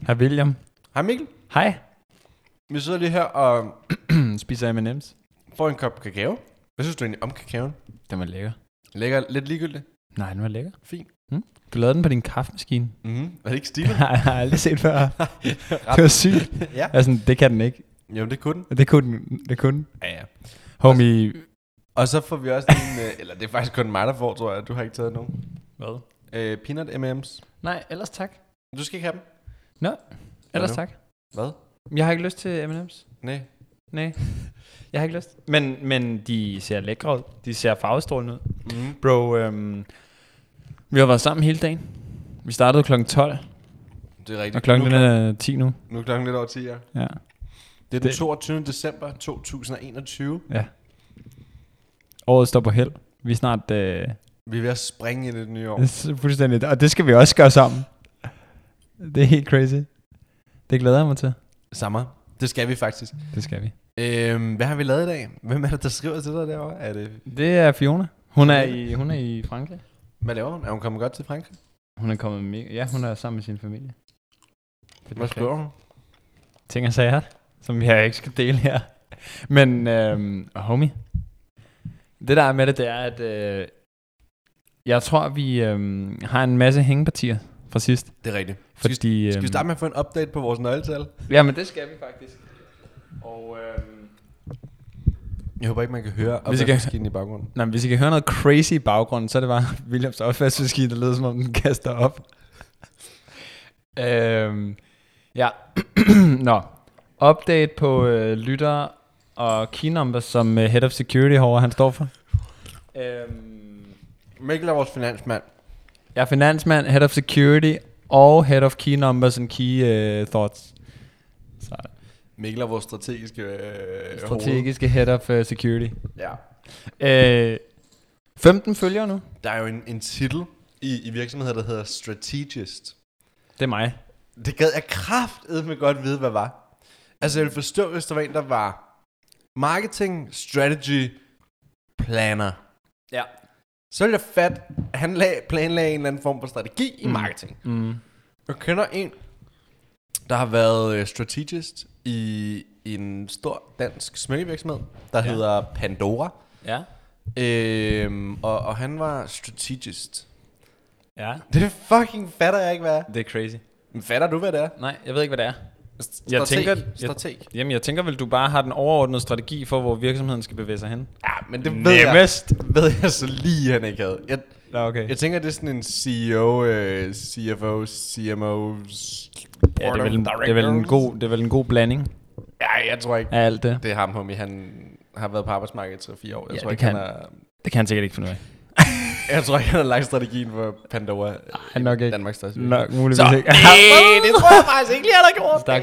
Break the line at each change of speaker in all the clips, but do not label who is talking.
Hej William.
Hej Mikkel.
Hej.
Vi sidder lige her og
Spiser M&M's.
får en kop kakao. Hvad synes du egentlig om kakaoen?
Den var lækker.
Lækker, lidt ligegyldigt.
Nej, den var lækker.
Fint.
Mm? Du lavede den på din kaffemaskine.
Mm-hmm. Er det ikke
Det
stilet?
har jeg aldrig set før. det var sygt.
ja.
Altså, det kan den ikke.
Jamen, det kunne den.
Det kunne den. Det kunne den.
Ja, ja.
Homie...
Og så får vi også en, øh, eller det er faktisk kun mig, der får, tror jeg. Du har ikke taget nogen.
Hvad?
Øh, peanut M&M's.
Nej, ellers tak.
Du skal ikke have dem.
Ellers
nu?
tak.
Hvad?
Jeg har ikke lyst til M&M's.
Nej.
Nej. Jeg har ikke lyst. Men, men de ser lækre ud. De ser farvestrålende ud.
Mm.
Bro, øhm, vi har været sammen hele dagen. Vi startede kl. 12,
Det er rigtigt.
og klokken
nu,
den er 10 nu.
nu er klokken lidt over 10, ja.
Ja.
Det er den
Det-
22. december 2021.
Året står på held. Vi er snart øh,
Vi er ved at springe ind i det nye år.
s- fuldstændig... Og det skal vi også gøre sammen. Det er helt crazy. Det glæder jeg mig til.
Sommer. Det skal vi faktisk.
Det skal vi.
Øhm, hvad har vi lavet i dag? Hvem er det, der skriver til dig derovre? Er det,
Det er Fiona. Hun er i, hun er i Frankrig.
hvad laver hun? Er hun kommet godt til Frankrig?
Hun er kommet med, ja, hun er sammen med sin familie.
Hvad skriver hun?
ting og sager, som jeg ikke skal dele her. Men øhm, homie, det der er med det, det er, at øh, jeg tror, vi øhm, har en masse hængepartier fra sidst.
Det er rigtigt. Skal,
Fordi,
vi-
øhm,
skal vi starte med at få en update på vores nøgletal?
Ja, men det skal vi faktisk. Og øhm,
Jeg håber ikke, man kan høre
Hvis I kan-
opvaskemaskinen i baggrunden.
nej, men hvis I kan høre noget crazy i baggrunden, så er det bare Williams opvaskemaskine, der lyder som om den kaster op. øhm, ja, nå. Update på øh, lytter og key numbers, som øh, head of security herovre, han står for. Øhm,
Mikkel er vores finansmand.
jeg er finansmand, head of security og head of key numbers and key øh, thoughts. Så
Mikkel er vores strategiske øh,
strategiske head of øh, security.
Hoved. Ja.
Øh, 15 følgere nu.
Der er jo en, en titel i, i virksomheder, der hedder strategist.
Det er mig.
Det gad jeg kraftedme godt vide, hvad var. Altså, jeg ville forstå, hvis der var en, der var marketing strategy planner.
Ja.
Så ville jeg fat, at han lag, planlagde en eller anden form for strategi mm. i
Mm.
marketing.
Mm.
Jeg kender en, der har været øh, strategist i en stor dansk smykkevirksomhed, der ja.
Ja.
hedder Pandora.
Ja.
Øhm, og, og han var strategist.
Ja.
Det fucking fatter jeg ikke, hvad er.
Det er crazy.
Men fatter du, hvad det er?
Nej, jeg ved ikke, hvad det er.
Strateg.
Jeg tænker-
Strateg.
Jamen, jeg tænker vel, du bare har den overordnede strategi for, hvor virksomheden skal bevæge sig hen.
Ja, men det ved jeg,
Nemmest.
ved jeg så lige, han ikke havde. Jeg,
Ja, okay.
jeg tænker, det er sådan en CEO, øh, CFO, CMO,
Ja, det, er vel en, det, er vel en god, det er vel en god blanding
Ja, jeg tror ikke.
af alt det.
Det er ham, homie. Han har været på arbejdsmarkedet i 3-4 år. Jeg
Ja,
tror
det
ikke,
kan
han er,
Det kan han sikkert ikke finde ud af.
Jeg tror ikke, han har lagt strategien for Pandora.
Han nok ikke.
Danmarks største.
Nok muligvis
Så,
ikke.
øh, det tror jeg faktisk ikke lige, han har gjort.
Stærk,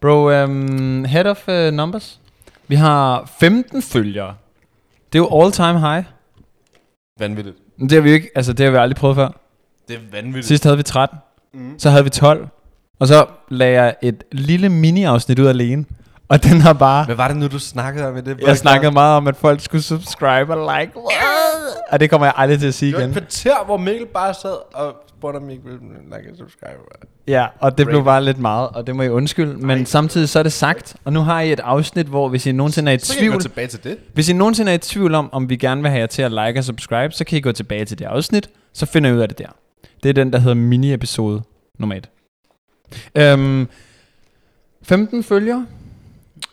bro. Bro, um, head of uh, numbers. Vi har 15 følgere. Det er jo all time high.
Vanvittigt.
Men det har vi jo ikke, altså det har vi aldrig prøvet før.
Det er vanvittigt.
Sidst havde vi 13,
Mm.
så havde vi 12, og så lagde jeg et lille mini-afsnit ud alene, og den har bare...
Hvad var det nu, du snakkede om i det?
Jeg snakkede meget om, at folk skulle subscribe og like. What? Og det kommer jeg aldrig til at sige
Det var et
igen.
kvarter, hvor Mikkel bare sad og spurgte om Mikkel like and subscribe.
Ja, og det blev bare lidt meget, og det må I undskylde. Men samtidig så er det sagt, og nu har I et afsnit, hvor hvis I nogensinde er i
Så kan vi gå
tvivl,
tilbage til det.
Hvis I nogensinde er i tvivl om, om vi gerne vil have jer til at like og subscribe, så kan I gå tilbage til det afsnit, så finder I ud af det der. Det er den, der hedder mini-episode nummer 1. Øhm, 15 følgere.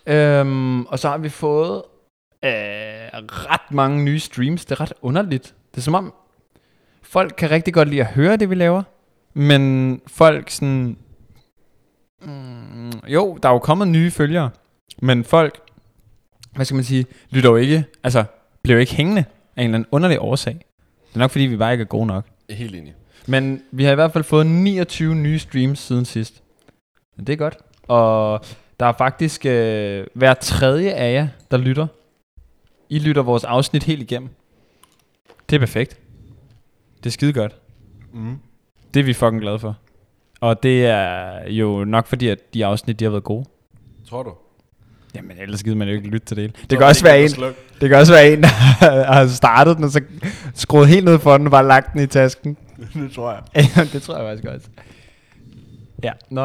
Øhm, og så har vi fået øh, ret mange nye streams. Det er ret underligt. Det er som om, folk kan rigtig godt lide at høre det, vi laver. Men folk sådan... Mm, jo, der er jo kommet nye følgere. Men folk hvad skal man sige, lytter jo ikke, altså bliver jo ikke hængende af en eller anden underlig årsag. Det er nok fordi, vi bare ikke er gode nok.
Helt enig.
Men vi har i hvert fald fået 29 nye streams siden sidst. Men det er godt. Og der er faktisk øh, hver tredje af jer, der lytter. I lytter vores afsnit helt igennem. Det er perfekt. Det er skide godt.
Mm.
Det er vi fucking glade for. Og det er jo nok fordi, at de afsnit, de har været gode.
Tror du?
Jamen, ellers gider man jo ikke lytte til det hele. Det kan også være en,
Sluk.
det kan også være en, der har startet den, og så skruet helt ned for den, og bare lagt den i tasken.
det tror jeg.
det tror jeg faktisk også. Ja, nå.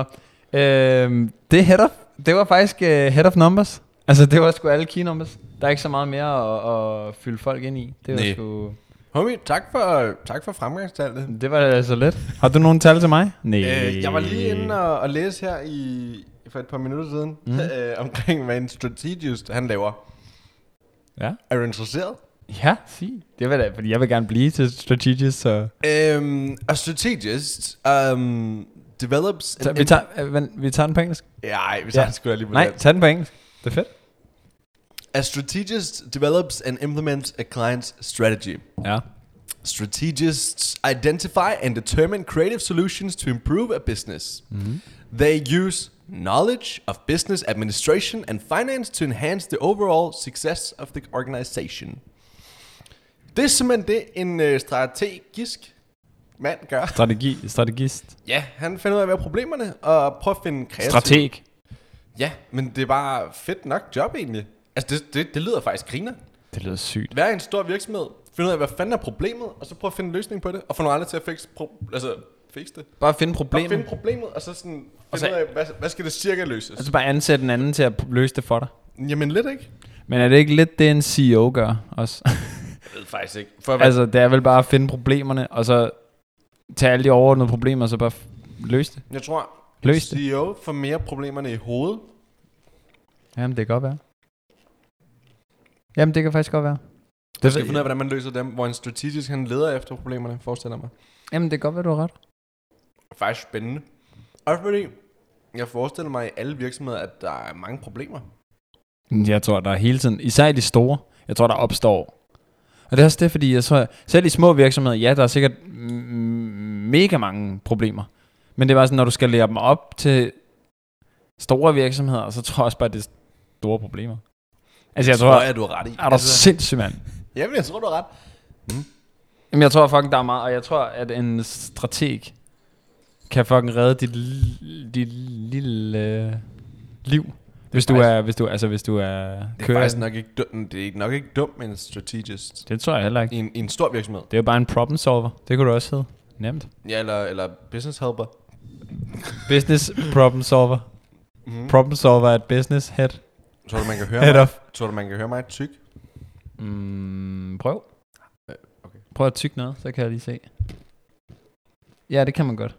Øhm, det, er head of, det var faktisk uh, head of numbers. Altså, det var sgu alle key numbers. Der er ikke så meget mere at, at fylde folk ind i. Det var
Næ.
sgu...
Homie, tak for, tak for fremgangstallet.
Det var altså let. Har du nogen tal til mig? Nej.
Øh, jeg var lige inde og, og læse her i, for et par minutter siden,
Mhm.
mm. øh, omkring hvad en strategist han laver.
Ja.
Er du interesseret?
Ja, sig. Det var da, fordi jeg vil gerne blive til strategist, så...
Øhm, a strategist um, develops...
så vi, tager, øh, vent, vi tager den på engelsk.
Nej, vi tager
Ja.
det sgu da lige på
Nej,
dansk.
tag den på engelsk. Det er fedt.
A strategist develops and implements a client's strategy.
Ja.
Strategists identify and determine creative solutions to improve a business. They use knowledge of business administration and finance to enhance the overall success of the organization. Det er simpelthen det, en øh, strategisk mand gør.
Strategi, strategist.
Ja, han finder ud af, hvad er problemerne, og prøver at finde kreative...
Strateg.
Ja, men det er bare fedt nok job egentlig. Altså, det, det, det lyder faktisk griner.
Det lyder sygt.
Vær en stor virksomhed, finde ud af, hvad fanden er problemet, og så prøv at finde en løsning på det, og få nogle andre til at fikse, pro- altså, fikse det.
Bare finde
Problemet.
problemet.
Finde problemet, og så sådan, finde
så-
ud af, hvad, hvad skal det cirka løses?
Altså bare ansætte en anden til at løse det for dig.
Jamen lidt ikke?
Men er det ikke lidt det, en CEO gør også?
Jeg ved faktisk ikke. For altså,
altså, det er vel bare at finde problemerne, og så tage alle de overordnede problemer, og så bare f- løse det.
jeg tror,
Løs det.
CEO får mere problemerne i hovedet.
Jamen, det kan godt være. Jamen, det kan faktisk godt være.
Man
Det
skal finde ud af, hvordan man løser dem, hvor en strategisk han leder efter problemerne, forestiller jeg mig.
Jamen, det kan godt være, du har ret.
Faktisk spændende. Også fordi, jeg forestiller mig i alle virksomheder, at der er mange problemer.
Jeg tror, der er hele tiden, især i de store, jeg tror, der opstår. Og det er også det, fordi jeg tror, selv i små virksomheder, ja, der er sikkert m- m- mega mange problemer. Men det er bare sådan, når du skal lære dem op til store virksomheder, så tror jeg også bare, det er store problemer. Altså, jeg tror, altså-
jeg, du har ret i. Altså,
er du sindssyg, mand?
jamen, jeg tror, du har ret.
Jamen, jeg tror fucking, der er meget, og jeg tror, at en strateg kan fucking redde dit, li- dit lille øh, liv. Hvis du
faktisk-
er, hvis du, altså hvis du er
Det er faktisk nok ikke dumt, det er nok ikke dumt med en strategist
Det tror jeg heller ikke.
i en, i en stor virksomhed.
Det er jo bare en problem solver. Det kunne du også hedde. Nemt.
Ja, eller, eller business helper.
Business problem solver.
Mm.
Problem solver er et business head.
Tror du, man kan
Head
høre mig?
of.
Tror du, man kan høre mig tyk?
Mm, prøv.
Øh, okay.
Prøv at tykke noget, så kan jeg lige se. Ja, det kan man godt.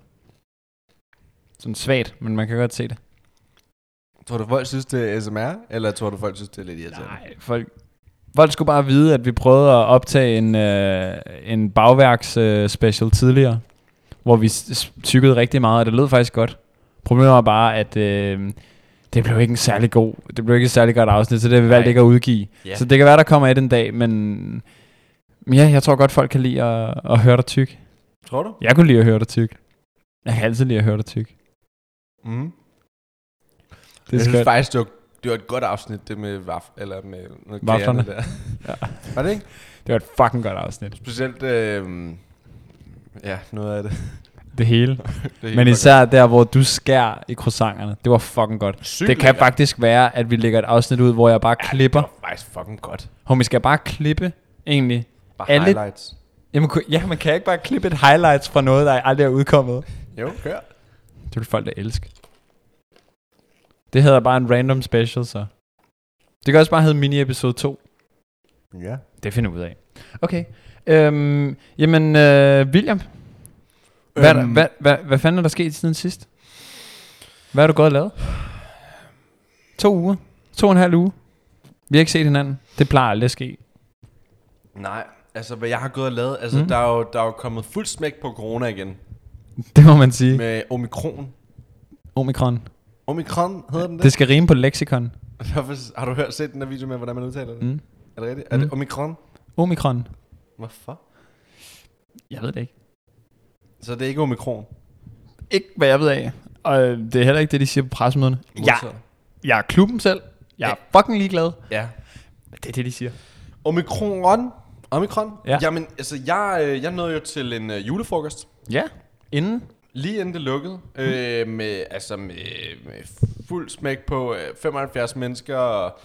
Sådan svagt, men man kan godt se det.
Tror du, folk synes, det er ASMR? Eller tror du, folk synes, det er lidt irriterende?
Nej, folk... Folk skulle bare vide, at vi prøvede at optage en, øh, en bagværks øh, special tidligere, hvor vi s- s- tykkede rigtig meget, og det lød faktisk godt. Problemet var bare, at øh, det blev ikke en særlig god, det blev ikke et særlig godt afsnit, så det har vi valgt
Nej.
ikke at udgive.
Ja.
Så det kan være, der kommer et en dag, men men ja, jeg tror godt, folk kan lide at, at høre dig tyk.
Tror du?
Jeg kunne lide at høre dig tyk. Jeg kan altid lide at høre dig tyk.
Mm.
Det
Det
er
jeg synes
skønt.
faktisk, det var, det var et godt afsnit, det med vaf, eller med noget
Vaflerne.
kagerne Der.
Ja.
Var det ikke?
Det var et fucking godt afsnit.
Specielt, øh, ja, noget af det.
Det hele.
det er
Men
helt
især der, hvor du skærer i croissanterne. Det var fucking godt.
fucking- Sygt
Det kan
lækkert.
faktisk være, at vi lægger et afsnit ud, hvor jeg bare klipper.
Det var faktisk fucking godt.
Homie, skal jeg bare klippe, egentlig?
Bare
Alle-
highlights.
Jamen, ku- ja, man kan jeg ikke bare klippe et highlights fra noget, der aldrig er udkommet.
Jo, kør.
Det vil folk da elske. Det hedder bare en random special, så. Det kan også bare hedde mini-episode 2.
Ja.
Det finder vi ud af. Okay. Øhm, jamen, øh, William. Hvad, er der-
Øhm.
hvad, hvad, hvad fanden er der sket siden sidst? Hvad har du gået og lavet? To uger. To og en halv uge. Vi har ikke set hinanden. Det plejer aldrig at ske.
Nej, altså hvad jeg har gået og lavet, altså
Mm.
mm. der, er jo, der er jo kommet fuld smæk på corona igen.
Det må man sige.
Med omikron.
Omikron.
Omikron hedder den det?
Det skal rime på lexikon.
Hvorfor- har du hørt set den der video med, hvordan man udtaler det?
Mm.
Er det rigtigt? Er
Mm.
det omikron?
Omikron.
Hvorfor?
Jeg ved det ikke.
Så det er ikke omikron?
Ikke hvad jeg ved af. Og øh, det er heller ikke det, de siger på pressemøderne. Ja,
Modtaget.
jeg er klubben selv. Jeg er fucking ligeglad.
Ja.
Det er det, de siger.
Omikron? Omikron?
Ja.
Jamen, altså jeg, øh, jeg nåede jo til en øh, julefrokost.
Ja. Inden.
Lige inden det lukkede, øh,
Mm.
med, altså med, med fuld smæk på øh, 75 mennesker, og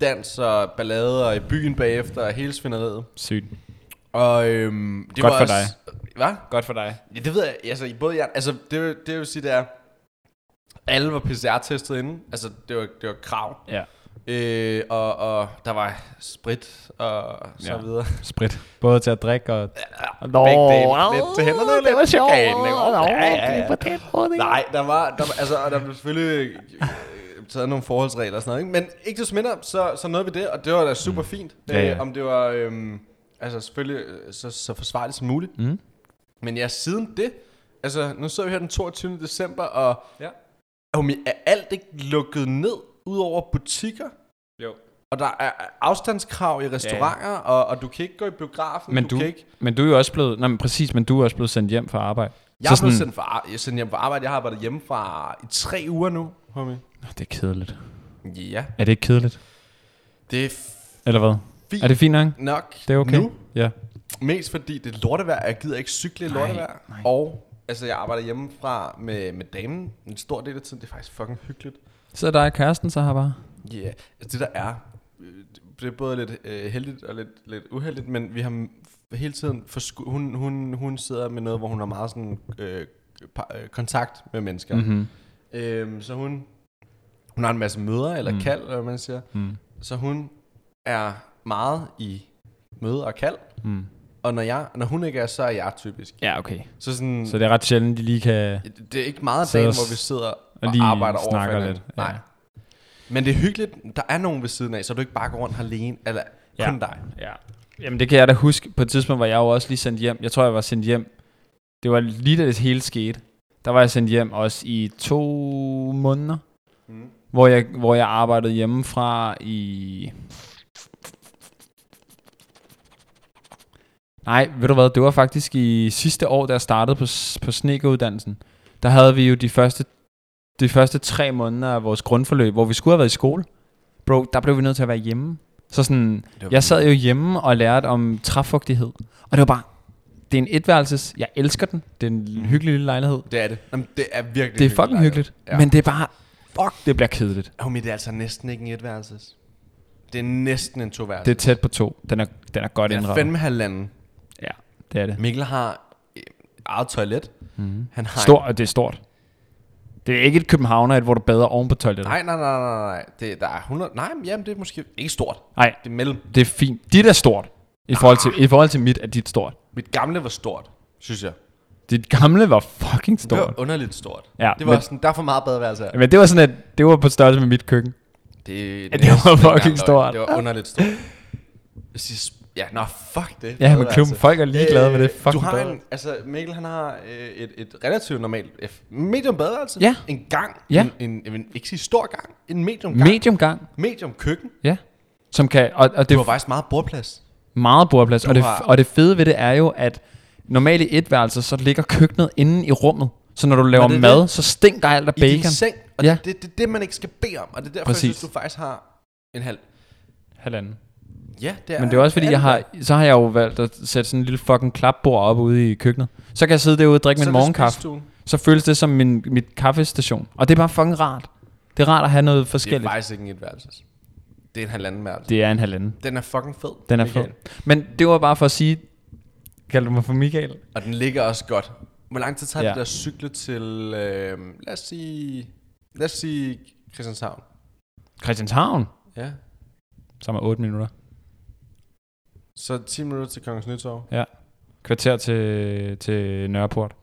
dans og ballader i byen bagefter, og hele svineriet.
Sygt.
Og øhm, det
Godt
var
for
også, dig. Hvad?
Godt for dig.
Ja, det ved jeg. Altså, i både jeg, altså, det, vil- det vil sige, det er, Alle var PCR-testet inden. Altså, det var, det var krav.
Ja.
Øh, og, og der var sprit og så
Ja.
videre.
Sprit. Både til at drikke og...
Ja,
Nå,
begge
au,
dele. Lidt til hænderne,
det
lidt
var
til
sjovt.
kagen, ikke?
Nå,
Ja, ja,
det
ja.
var den måde, ikke?
Nej, der var, der, var- altså, og der blev selvfølgelig øh, taget nogle forholdsregler og sådan noget. Ikke? Men ikke desto mindre, så, så nåede vi det, og det var da super fint.
Mm. Ja, ja.
Øh, om det var øhm, altså selvfølgelig øh, så, så forsvarligt som muligt.
Mm.
Men ja, siden det, altså nu sidder vi her den 22. december, og
Ja.
homie, er alt ikke lukket ned ud over butikker?
Jo.
Og der er afstandskrav i restauranter, ja. og, og du kan ikke gå i biografen,
Men
du,
du,
kan ikke...
men du er jo også blevet... Nej, men præcis, men du er også blevet sendt hjem fra arbejde.
Jeg er
Så
blevet
sådan-
sendt, for, ar- jeg er sendt hjem fra arbejde, jeg har arbejdet hjemmefra i tre uger nu, homie.
Nå, Det er kedeligt.
Ja,
Er det ikke kedeligt?
det er f-
Eller hvad?
fint
Er det fint nok?
nok
Det er okay.
nu.
Ja.
Mest fordi det er lortevejr, og jeg gider ikke cykle i
Nej,
lortevejr.
nej.
Og altså, jeg arbejder hjemmefra med, med damen en stor del af tiden. Det er faktisk fucking hyggeligt.
Så er dig og kæresten så her bare.
Ja, yeah. altså det der er, øh, det er både lidt øh, heldigt og lidt, lidt uheldigt, men vi har m- hele tiden, forsku- hun, hun, hun sidder med noget, hvor hun har meget sådan øh, pa- øh, kontakt med mennesker. Mm-hmm.
Mm-hmm.
Øhm, så hun, hun har en masse møder, eller
Mm.
mm. kald, eller hvad man siger.
Mm.
Så hun er meget i møde og kald,
Mm.
og når, jeg, når hun ikke er, så er jeg typisk.
Ja, okay.
Så sådan,
Så det er ret sjældent, de lige kan...
Det er ikke meget af
Sidder
dagen,
og s-
hvor vi sidder og,
og lige
arbejder over
snakker
for hinanden.
lidt, ja.
Nej. Men det er hyggeligt. Der er nogen ved siden af, så du ikke bare går rundt alene. Eller
Ja.
kun dig.
Ja. Jamen det kan jeg da huske. På et tidspunkt var jeg jo også lige sendt hjem. Jeg tror, jeg var sendt hjem. Det var lige da det hele skete. Der var jeg sendt hjem også i to måneder.
Mm.
Hvor jeg, hvor jeg arbejdede hjemmefra i... Nej, ved du hvad, det var faktisk i sidste år, da jeg startede på, s- på snekeuddannelsen. Der havde vi jo de første, de første tre måneder af vores grundforløb, hvor vi skulle have været i skole. Bro, der blev vi nødt til at være hjemme. Så sådan, jeg sad jo hjemme og lærte om træfugtighed. Og det var bare, det er en etværelses, jeg elsker den. Det er en
Mhm.
hyggelig lille lejlighed.
Det er det. Jamen, det er virkelig
Det er fucking hyggeligt.
Ja.
Men det er bare, fuck, det bliver kedeligt.
Homie, det er altså næsten ikke en etværelses. Det er næsten en toværelses.
Det er tæt på to. Den er, den er godt
det er
indrettet.
fandme halvanden.
Ja, det er det.
Mikkel har øh, eget toilet.
Mm.
Han har
Stor, og det er stort. Det er ikke et københavner, hvor du bader oven på toilettet.
Nej, nej, nej, nej, nej. Det, der er 100... Nej, men jamen, det er måske ikke stort.
Nej,
Det er mellem.
det er fint. Dit er stort. I forhold til, i forhold til mit er dit stort.
Mit gamle var stort, synes jeg.
Dit gamle var fucking
Det var
stort.
underligt stort.
Ja,
det var
men-
sådan, der er for meget badeværelse her.
Men det var sådan, at det var på størrelse med mit køkken.
Det,
Ja, det var
næsten ikke
fucking
engang løgn.
stort.
Det var underligt stort. Jeg siger, ja, nå, fuck det.
Ja, men
Bedre,
klubben, folk er ligeglade med det.
Øh,
Fucking
du har
bedre.
en, altså Mikkel, han har øh, et, et relativt normalt, F, medium badeværelse.
Ja.
En gang.
Ja.
En, en, en, ikke sige stor gang. En medium gang.
Medium gang.
medium køkken.
Ja. Som kan, og, og det
Det var
er
faktisk meget bordplads.
meget bordplads. Og det,
har-
og det fede ved det er jo, at normalt i et værelse, så ligger køkkenet inde i rummet. Så når du laver
det er
mad, så stinker alt af
I din
bacon.
seng. Og
Ja.
ja. det er det, det, man ikke skal bede om. Og det er derfor,
Præcis.
jeg synes, du faktisk har en halv.
Halvanden.
Ja, det er
Men det er også fordi,
en
jeg
halv.
har, så har jeg jo valgt at sætte sådan en lille fucking klapbord op ude i køkkenet. Så kan jeg sidde derude og drikke
Så er
min
det
morgenkaffe.
spisestuen.
Så føles det som min, mit kaffestation. Og det er bare fucking rart. Det er rart at have noget
Det er
forskelligt.
faktisk ikke en etværelses. Det er en halvanden værelse.
Det er en halvanden.
Den er fucking fed.
Den er fed.
Michael.
Men det var bare for at sige... Kaldte du mig for Michael?
Og den ligger også godt. Hvor lang tid tager
Ja.
ja. det der at cykle til, øh, lad os sige, lad os sige Christianshavn?
Christianshavn?
Ja.
Som er 8 minutter.
Så 10 minutter til Kongens Nytorv.
Kvarter til, til Nørreport.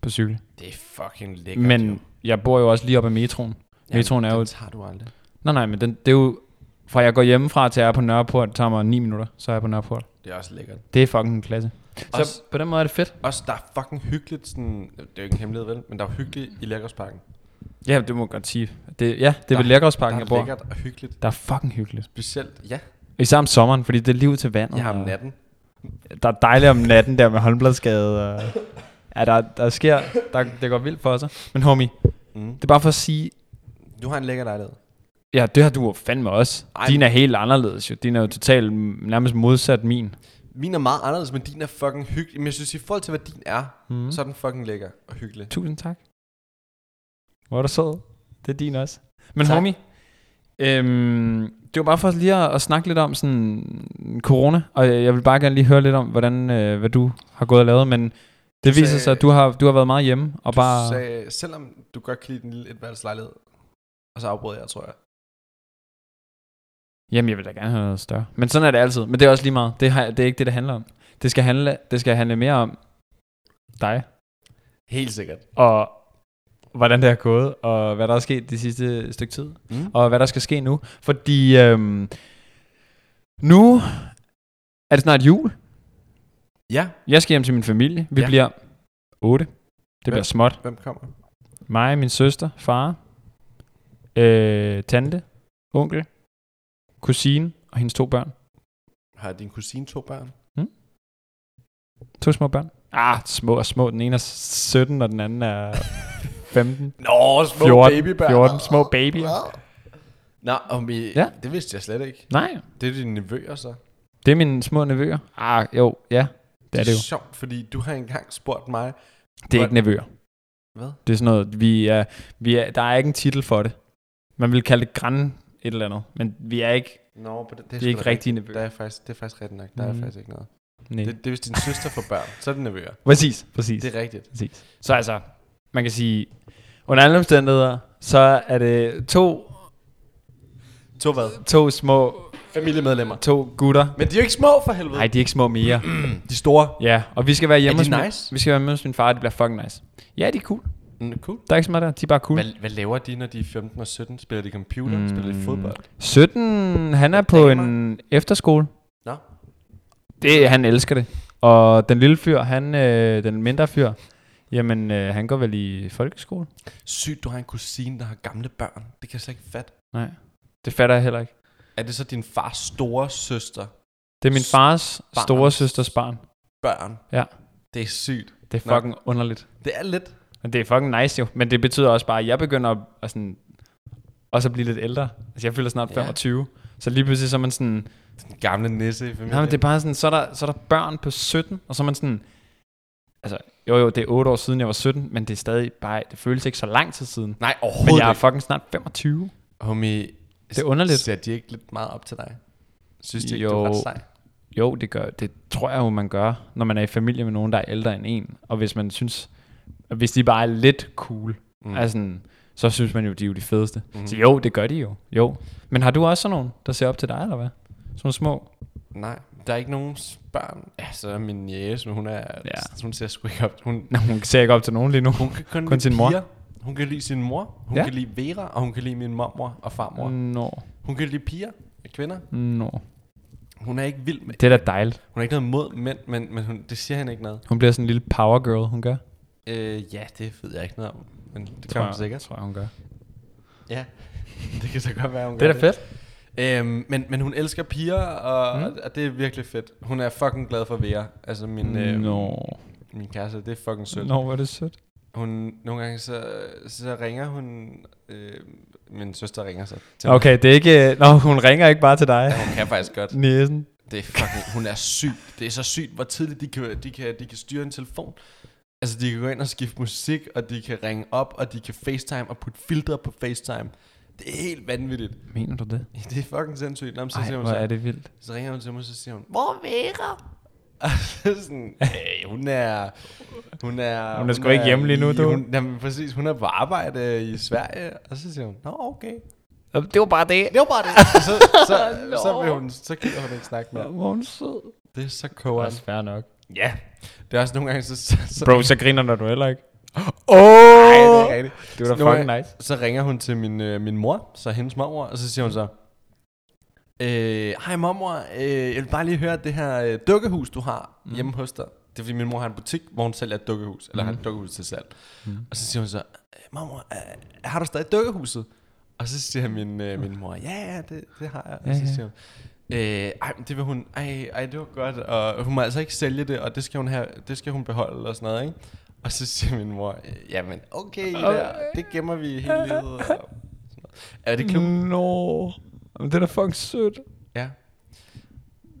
På cykel.
Det er fucking lækkert. jo.
Men jeg bor jo også lige op ad metroen.
Jamen,
metroen er jo-
Den tager du aldrig.
Nej, nej, men den, det er jo... Fra jeg går hjemmefra til jeg er på Nørreport, tager mig 9 minutter, så er jeg på Nørreport.
Det er også lækkert.
Det er fucking en klasse. Så
Også-
på den måde er det fedt.
Også der er fucking hyggeligt sådan, det er jo ikke en hemmelighed vel, men der er jo hyggeligt i Lækkersparken.
Ja, det må jeg godt sige. Det, ja, det er ved
Der-
Lækkersparken, jeg
Der er
bor.
lækkert og hyggeligt.
Der er fucking hyggeligt.
Specielt, ja,
Især om sommeren, fordi det er lige ud til vandet.
jeg har om
og
natten.
Der er dejligt om natten der med håndbladsskade. Og... Ja, der, der sker, der, det går vildt for sig. Men homie,
Mm.
det er bare for at sige,
Du har en lækker lejlighed.
ja, det har du jo fandme også.
Ej,
Din
men-
er helt anderledes jo. Din er jo totalt m- nærmest modsat min.
Min er meget anderledes, men din er fucking hyggelig. Men jeg synes, i forhold til, hvad din er, mm. så er den fucking lækker og hyggelig.
Tusind tak. Hvor er du sød. Det er din også. Men tak.
Tak.
homie, øhm, det var bare for lige at, at snakke lidt om sådan corona, og jeg vil bare gerne lige høre lidt om, hvordan, øh, hvad du har gået og lavet, men Det viser
sagde-
sig, at du har, du har været meget hjemme og
Du
bare...
sagde, selvom du godt kan lide den lille etværelseslejlighed, og så afbrød jeg, tror jeg.
Jamen, jeg vil da gerne have noget større. Men sådan er det altid. Men det er også lige meget. Det, har, det er ikke det, det handler om. Det skal handle, det skal handle mere om dig,
Helt sikkert.
og hvordan det er gået, og hvad der er sket det sidste stykke tid,
Mm.
og hvad der skal ske nu. Fordi øhm, nu er det snart jul.
Ja,
Jeg skal hjem til min familie. Vi ja.
Ja.
bliver otte. Det bliver
Hvem?
småt.
hvem kommer?
Mig, min søster, far, øh, tante, onkel, kusine og hendes to børn.
Har din kusine to børn?
To små børn. Ah, små og små. Den ene er 17, og den anden er 15.
Nå, små
14,
babybørn.
14 små babyer.
Nå, og vi,
Ja.
ja. det vidste jeg slet ikke.
Nej,
Det er dine nevøer så.
det er mine små nevøer. Ah, jo, ja. Det er det jo.
sjovt, fordi du har engang spurgt mig.
Det er ikke nevøer.
Hvad?
Det er sådan noget, vi er, vi er, der er ikke en titel for det. Man vil kalde det græn et eller andet, men vi er ikke,
Nå, på det,
det er ikke rigtige nevøer.
Der er faktisk, det er faktisk rigtigt nok. Der er
Mhm.
faktisk ikke noget.
Nej.
Det, det, er hvis din søster får børn, så er det nevøer.
Præcis, præcis.
Det er rigtigt.
Præcis. Så altså, man kan sige, under alle omstændigheder, så er det to,
To hvad?
to små,
Familiemedlemmer.
to gutter.
Men de er jo ikke små for helvede.
Nej, de er ikke små mere.
de er store.
Ja, og vi skal være hjemme
Er de
hos min-
nice?
vi skal være hjemme hos min far, og det bliver fucking nice. Ja, de er cool.
Mm, cool.
Der er ikke så meget der, de er bare cool.
Hvad, hvad laver de, når de er 15 og 17? Spiller de computer? Mm. Spiller de fodbold?
17, han er på en efterskole.
Nå.
Det, han elsker det. Og den lille fyr, han, øh, den mindre fyr, jamen øh, han går vel i folkeskole?
Sygt, du har en kusine, der har gamle børn. Det kan jeg slet ikke fatte.
Nej, det fatter jeg heller ikke.
Er det så din fars store søster
Det er min fars
Barn.
store søsters barn.
børn?
Ja.
Det er sygt.
Det er
Nå.
fucking underligt.
Det er lidt.
Men det er fucking nice jo. Men det betyder også bare, at jeg begynder at, at sådan, også at blive lidt ældre. Altså jeg fylder snart
Ja.
25. Så lige pludselig så er man sådan,
Den gamle nisse i familien.
Nej, men det er bare sådan, så er, der, så er der børn på 17, og så er man sådan, altså jo jo, det er 8 år siden, jeg var 17, men det er stadig bare, det føles ikke så lang tid siden.
Nej,
Men
overhovedet
jeg er
ikke.
fucking snart 25.
Homie,
Det er underligt.
Ser de ikke lidt meget op til dig? Synes de ikke,
Jo.
du er ret sej?
Jo, det, gør, det tror jeg jo, man gør, når man er i familie med nogen, der er ældre end en. Og hvis man synes, og hvis de bare er lidt cool, mm. altså, så synes man jo, de er jo de fedeste. Mm. Så jo, det gør de jo. jo. Men har du også sådan nogen, der ser op til dig, eller hvad? Sådan nogle små?
Nej, der er ikke nogen s- børn. Altså, min jæs, men hun er...
Ja.
Ja. Hun ser sgu ikke op. Hun,
Nå, hun ser ikke op til nogen lige nu.
hun kan kun,
Kun
lide
sin mor?
piger. Hun kan lide sin mor. Hun
Ja.
ja. kan lide Vera, og hun kan lide min mormor og farmor. Mm.
Nå,
Hun kan lide piger og kvinder.
nå.
Hun er ikke vild med...
Det er da dejligt.
Hun er ikke noget mod mænd, men, men hun, det siger han ikke noget.
Hun bliver sådan en lille power girl, hun gør.
Øh, ja, det ved jeg ikke noget om. Men det
Tror
kan hun
jeg-
sikkert.
Tror jeg, hun gør.
Ja, det kan så godt være, hun
Det er
gør
da fedt.
Øhm, men, men hun elsker piger, og,
Mm.
mm. og det er virkelig fedt. Hun er fucking glad for Vera. Altså min, øh,
Nå,
min kæreste, det er fucking sødt.
Nå, hvor er det sødt.
Hun, nogle gange så, så ringer hun... Øh, min søster ringer så til mig.
Okay, det er ikke... øh, Nå, hun ringer ikke bare til dig.
Ja, hun kan faktisk godt.
Næsen.
Det er fucking, hun er syg. Det er så sygt, hvor tidligt de kan, de kan, de kan styre en telefon. Altså, de kan gå ind og skifte musik, og de kan ringe op, og de kan facetime og putte filtre på facetime. Det er helt vanvittigt.
Mener du det?
Det er fucking sindssygt. Nå, men så,
Ej,
siger hun
hvor
så,
er det vildt.
så ringer hun til mig, og så siger hun, Hvor er Vera? Og så er jeg sådan, hey, hun er... Hun er,
Hun er sgu ikke hjemme lige nu,
i-
du."
Hun, jamen, præcis, hun er på arbejde i Sverige, og så siger hun, Nå, okay.
Det var bare det.
Det var bare det. Og så, så,
Nå.
så, så, vil hun, så gider hun ikke snakke mere.
Hvor er hun sød.
Det er så
Det var
kogeren.
også fair nok.
Ja. Det er også nogle gange, så... så, så
Bro, så griner du heller ikke.
Åh! Oh! det er ikke rigtigt.
Det var
Så
da
nogle
fucking
gange-
nice.
Så ringer hun til min, øh, min mor, så hendes mormor, og så siger hun så... Øh, Hej mormor, øh, jeg vil bare lige høre det her øh, dukkehus, du har mm. hjemme hos dig. Det er fordi min mor har en butik, hvor hun sælger et dukkehus, eller har et dukkehus til salg. Mm. Og så siger hun så, "Øh, mormor, øh, har du stadig dukkehuset? Og så siger min, øh, min mor, ja, ja, det, det har jeg. Og
Ja, ja.
så siger hun, Øh, ej, men det vil hun, ej, ej, det var godt, og hun må altså ikke sælge det, og det skal hun, have, det skal hun beholde og sådan noget, ikke? Og så siger min mor, "Øh, jamen okay, okay. Der, det gemmer vi hele livet. Og sådan noget. Er det klub? Mm.
Nå. Men det er da fucking sødt.
Ja.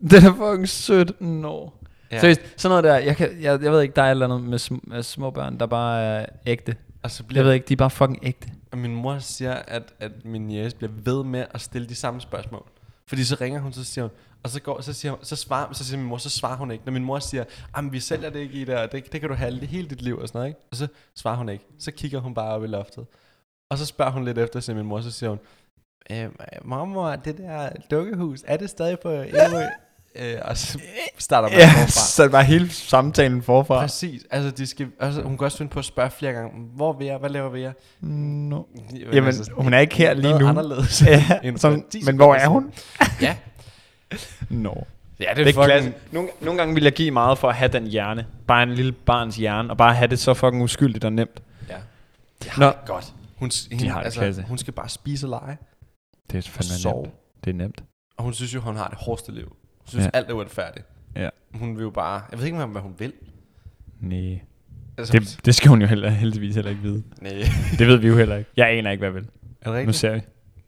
Det er da fucking sødt. Nå. Ja.
Ja.
Seriøst, sådan noget der, jeg, kan, jeg, jeg ved ikke, der er et eller andet med, sm- med små børn, der bare er ægte.
Og så bliver
Jeg ved ikke, de er bare fucking ægte.
Og min mor siger, at, at min jæs bliver ved med at stille de samme spørgsmål. Fordi så ringer hun, så siger hun, og så, går, så, siger, hun- så, svarer, så siger min mor, så svarer hun ikke. Når min mor siger, jamen vi sælger det ikke i der, det, det kan du have det hele dit liv og sådan noget, ikke? Og så svarer hun ikke. Så kigger hun bare op i loftet. Og så spørger hun lidt efter, siger min mor, så siger hun, øh, mormor, det der dukkehus, er det stadig på Ærø? øh, og så starter man
Ja,
forfra.
så det var hele samtalen forfra.
Præcis. Altså, de skal, altså, hun kan også finde på at spørge flere gange, hvor vil jeg, hvad laver vi jeg?
No.
Jamen,
Mm, Jamen, hun er ikke her lige
noget
nu.
anderledes.
Ja,
end altså.
som,
for 10
men hvor er
sekunder
hun?
siden. ja.
No.
ja,
Det er klasse. Nogle, nogle gange vil jeg give meget for at have den hjerne. Bare en lille barns hjerne. Og bare have det så fucking uskyldigt og nemt.
Ja.
Nå,
Godt. Hun, hende,
har det klasse.
altså, hun skal bare spise og lege
det er
og
fandme
sove.
nemt. Det er nemt.
Og hun synes jo, hun har det hårdeste liv. Hun synes,
Ja.
ja. alt er uretfærdigt.
Ja.
Hun vil jo bare... Jeg ved ikke, hvad hun vil.
Nej.
Altså,
Det, det skal hun jo heller, heldigvis heller ikke vide.
Nej.
Det ved vi jo heller ikke. Jeg aner ikke, hvad jeg vil.
Er
Nu
det rigtigt?
ser vi.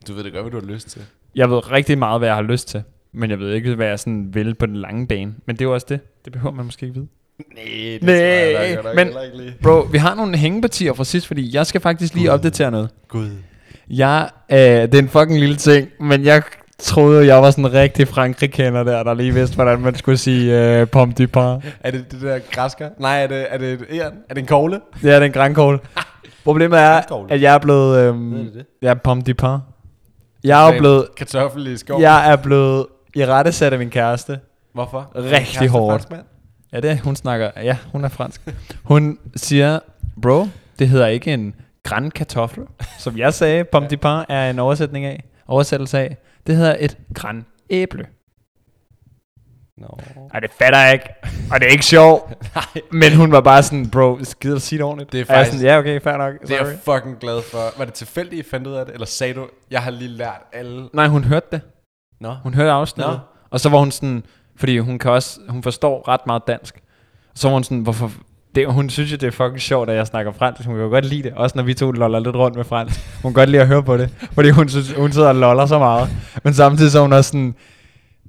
Du ved det godt, hvad du har lyst til.
Jeg ved rigtig meget, hvad jeg har lyst til. Men jeg ved ikke, hvad jeg sådan vil på den lange bane. Men det er jo også det. Det behøver man måske ikke vide.
Nej, det
Næh,
tror jeg nok,
men-
men... ikke lige.
Bro, vi har nogle hængepartier fra sidst, fordi jeg skal faktisk lige
Gud.
opdatere noget.
Gud.
Jeg, øh, det er en fucking lille ting, men jeg troede, jeg var sådan en rigtig Frankrig-kender der, der lige vidste, hvordan man skulle sige øh, pomme du pain.
Er det det der græsker? Nej, er det, er det et æren? Er det en kogle?
Det er den grankål. Problemet er,
Grankål.
at jeg er blevet... Øh,
Ved du det?
jeg er pomme du pain. Jeg er jo
Med
blevet...
Kartoffel i skoven?
Jeg er blevet i rette sat af min kæreste.
Hvorfor?
Rigtig
Kæreste
hårdt.
franskmand?
Ja, det er, hun snakker. Ja, hun er fransk. Hun siger, bro, det hedder ikke en gran kartoffel, som jeg sagde, pomme de pain er en oversætning af, oversættelse af. Det hedder et gran æble.
Nå.
Ej, det fatter jeg ikke, og det er ikke sjovt.
Nej.
Men hun var bare sådan, bro, skider sige det ordentligt.
Det er
Og jeg
faktisk-
Sådan, ja, okay, fair nok.
Det er
Sorry.
jeg fucking glad for. Var det tilfældigt, I fandt ud af det? Eller sagde du, jeg har lige lært alle?
Nej, hun hørte det.
Nå.
Hun hørte afsnittet.
Nå.
Og så var hun sådan, fordi hun, kan også, hun forstår ret meget dansk. Så var hun sådan, hvorfor... Det, hun synes jo, det er fucking sjovt, at jeg snakker fransk. Hun kan jo godt lide det, også når vi to loller lidt rundt med fransk. Hun kan godt lide at høre på det, fordi hun, synes, hun sidder og loller så meget. Men samtidig så er hun også sådan,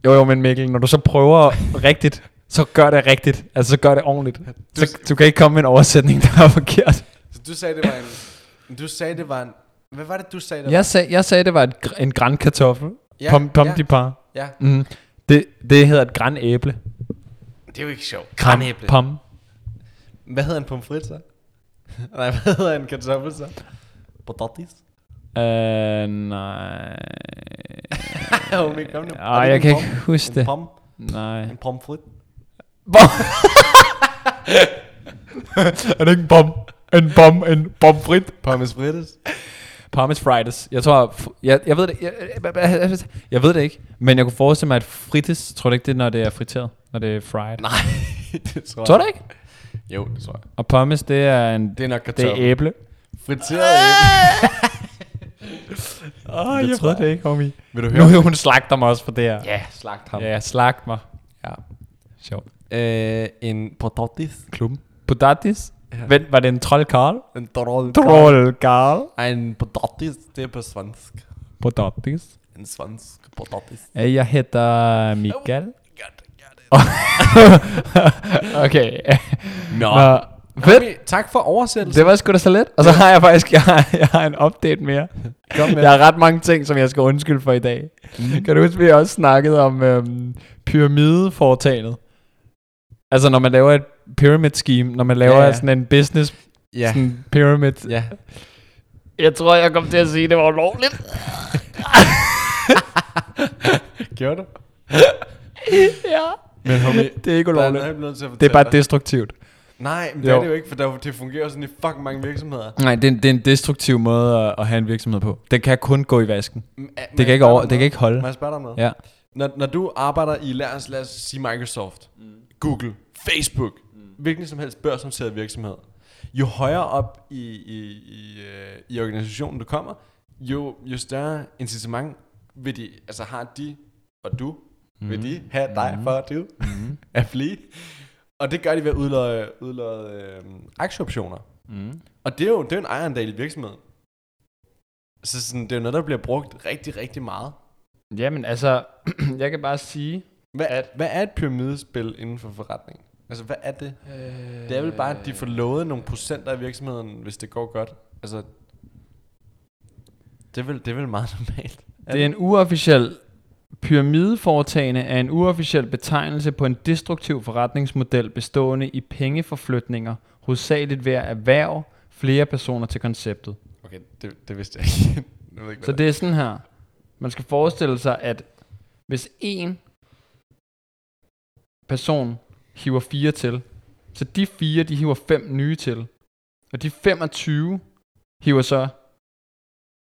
jo jo, men Mikkel, når du så prøver rigtigt, så gør det rigtigt. Altså, så gør det ordentligt. Du, så, du kan ikke komme med en oversætning, der er forkert.
Så du sagde, det var en... Du sagde, det var en... Hvad var det, du sagde, det var?
Jeg sagde, jeg sagde det var et, gr- en gran kartoffel.
Ja,
Ja, pom, pom
ja.
de par.
Ja.
Mm. Det, det hedder et gran æble.
Det er jo ikke sjovt.
Pom,
Kranæble.
Pom.
Hvad hedder en pomfrit så? Nej, hvad hedder en kartoffel så? Potatis?
Øh, nej.
Åh, men kom nu.
Ej,
Er det
jeg
en
kan
pom?
ikke huske
En
det.
pom?
Nej.
En pomfrit?
er det ikke en bom? En bom, en bomfrit.
Pommes frites?
Pommes frites. Jeg tror, f- jeg, jeg ved det, jeg, jeg- jeg, jeg- jeg ved det ikke, men jeg kunne forestille mig, at frites, tror du ikke det, er, når det er friteret? Når det er fried?
Nej, det tror jeg.
Tror du ikke?
Jo, det tror jeg.
Og pommes, det er en,
Det er nok
det er
kartoffel.
æble.
Friteret æble.
Åh,
jeg ved det
ikke, homie.
Vil du
Nu hun slagter mig også for det her.
Ja, slagt ham.
ja slagt mig.
Ja.
Sjovt.
Øh, en potatis.
Klubben. Potatis.
Ja.
Vent, var det en troldkarl?
En troll.
Trollkarl.
En potatis, det er på svensk.
Potatis.
En svensk potatis.
Øh, Jeg hedder Michael.
Godt, godt.
okay.
Nå.
Nå, fedt.
Tommy, tak for oversættelsen.
Det var sgu da så let. Og så har jeg faktisk jeg har, jeg har en update mere.
Kom med. Mm.
Jeg har ret mange ting, som jeg skal undskylde for i dag. Kan du huske, vi også snakkede om øhm, pyramideforetagendet? Altså, når man laver et pyramid scheme, når man laver
Ja,
ja,
ja.
sådan en business
Ja.
sådan pyramid.
Ja.
Jeg tror, jeg kom til at sige, at det var ulovligt.
Gjorde du?
ja.
Men homie,
Det er ikke
der er
ulovligt.
noget, jeg bliver nødt til at
Det er bare
fortælle dig.
destruktivt.
Nej, men det er
Jo.
det jo ikke, for der, det fungerer sådan i fucking mange virksomheder.
Nej, det er, en- det er en destruktiv måde at, at have en virksomhed på. Den kan kun gå i vasken.
M- er- må
Det
jeg
kan, ikke
spørge
over,
dig
det
om
kan
noget?
ikke holde.
Må jeg spørge dig om noget?
Ja.
Når, når du arbejder i, lad os, lad os sige Microsoft, mm. Google, Facebook, mm. hvilken som helst børsnoteret virksomhed, jo højere op i, i, i, øh, i organisationen du kommer, jo, jo større incitament vil de, altså har de og du, mm. vil
Mhm.
de have dig mm. for at du mm. at blive. Og det gør de ved at udløje, udløje øh, aktieoptioner.
Mm.
Og det er jo det er jo en ejerandel i virksomheden. Så sådan, det er jo noget, der bliver brugt rigtig, rigtig meget.
Jamen altså, jeg kan bare sige...
Hvad,
At-
hvad er et pyramidespil inden for forretning? Altså, hvad er det?
Øh,
Det er vel bare, at de får lovet nogle procenter af virksomheden, hvis det går godt. Altså, det er vel, det er vel meget normalt.
Det er en uofficiel Pyramideforetagende er en uofficiel betegnelse på en destruktiv forretningsmodel bestående i pengeforflytninger, hovedsageligt ved at erhverve flere personer til konceptet.
Okay, det, det vidste jeg ikke. jeg ved ikke
Så
hvad
det er sådan her. Man skal forestille sig, at hvis en person hiver fire til, så de fire, de hiver fem nye til. Og de 25 hiver så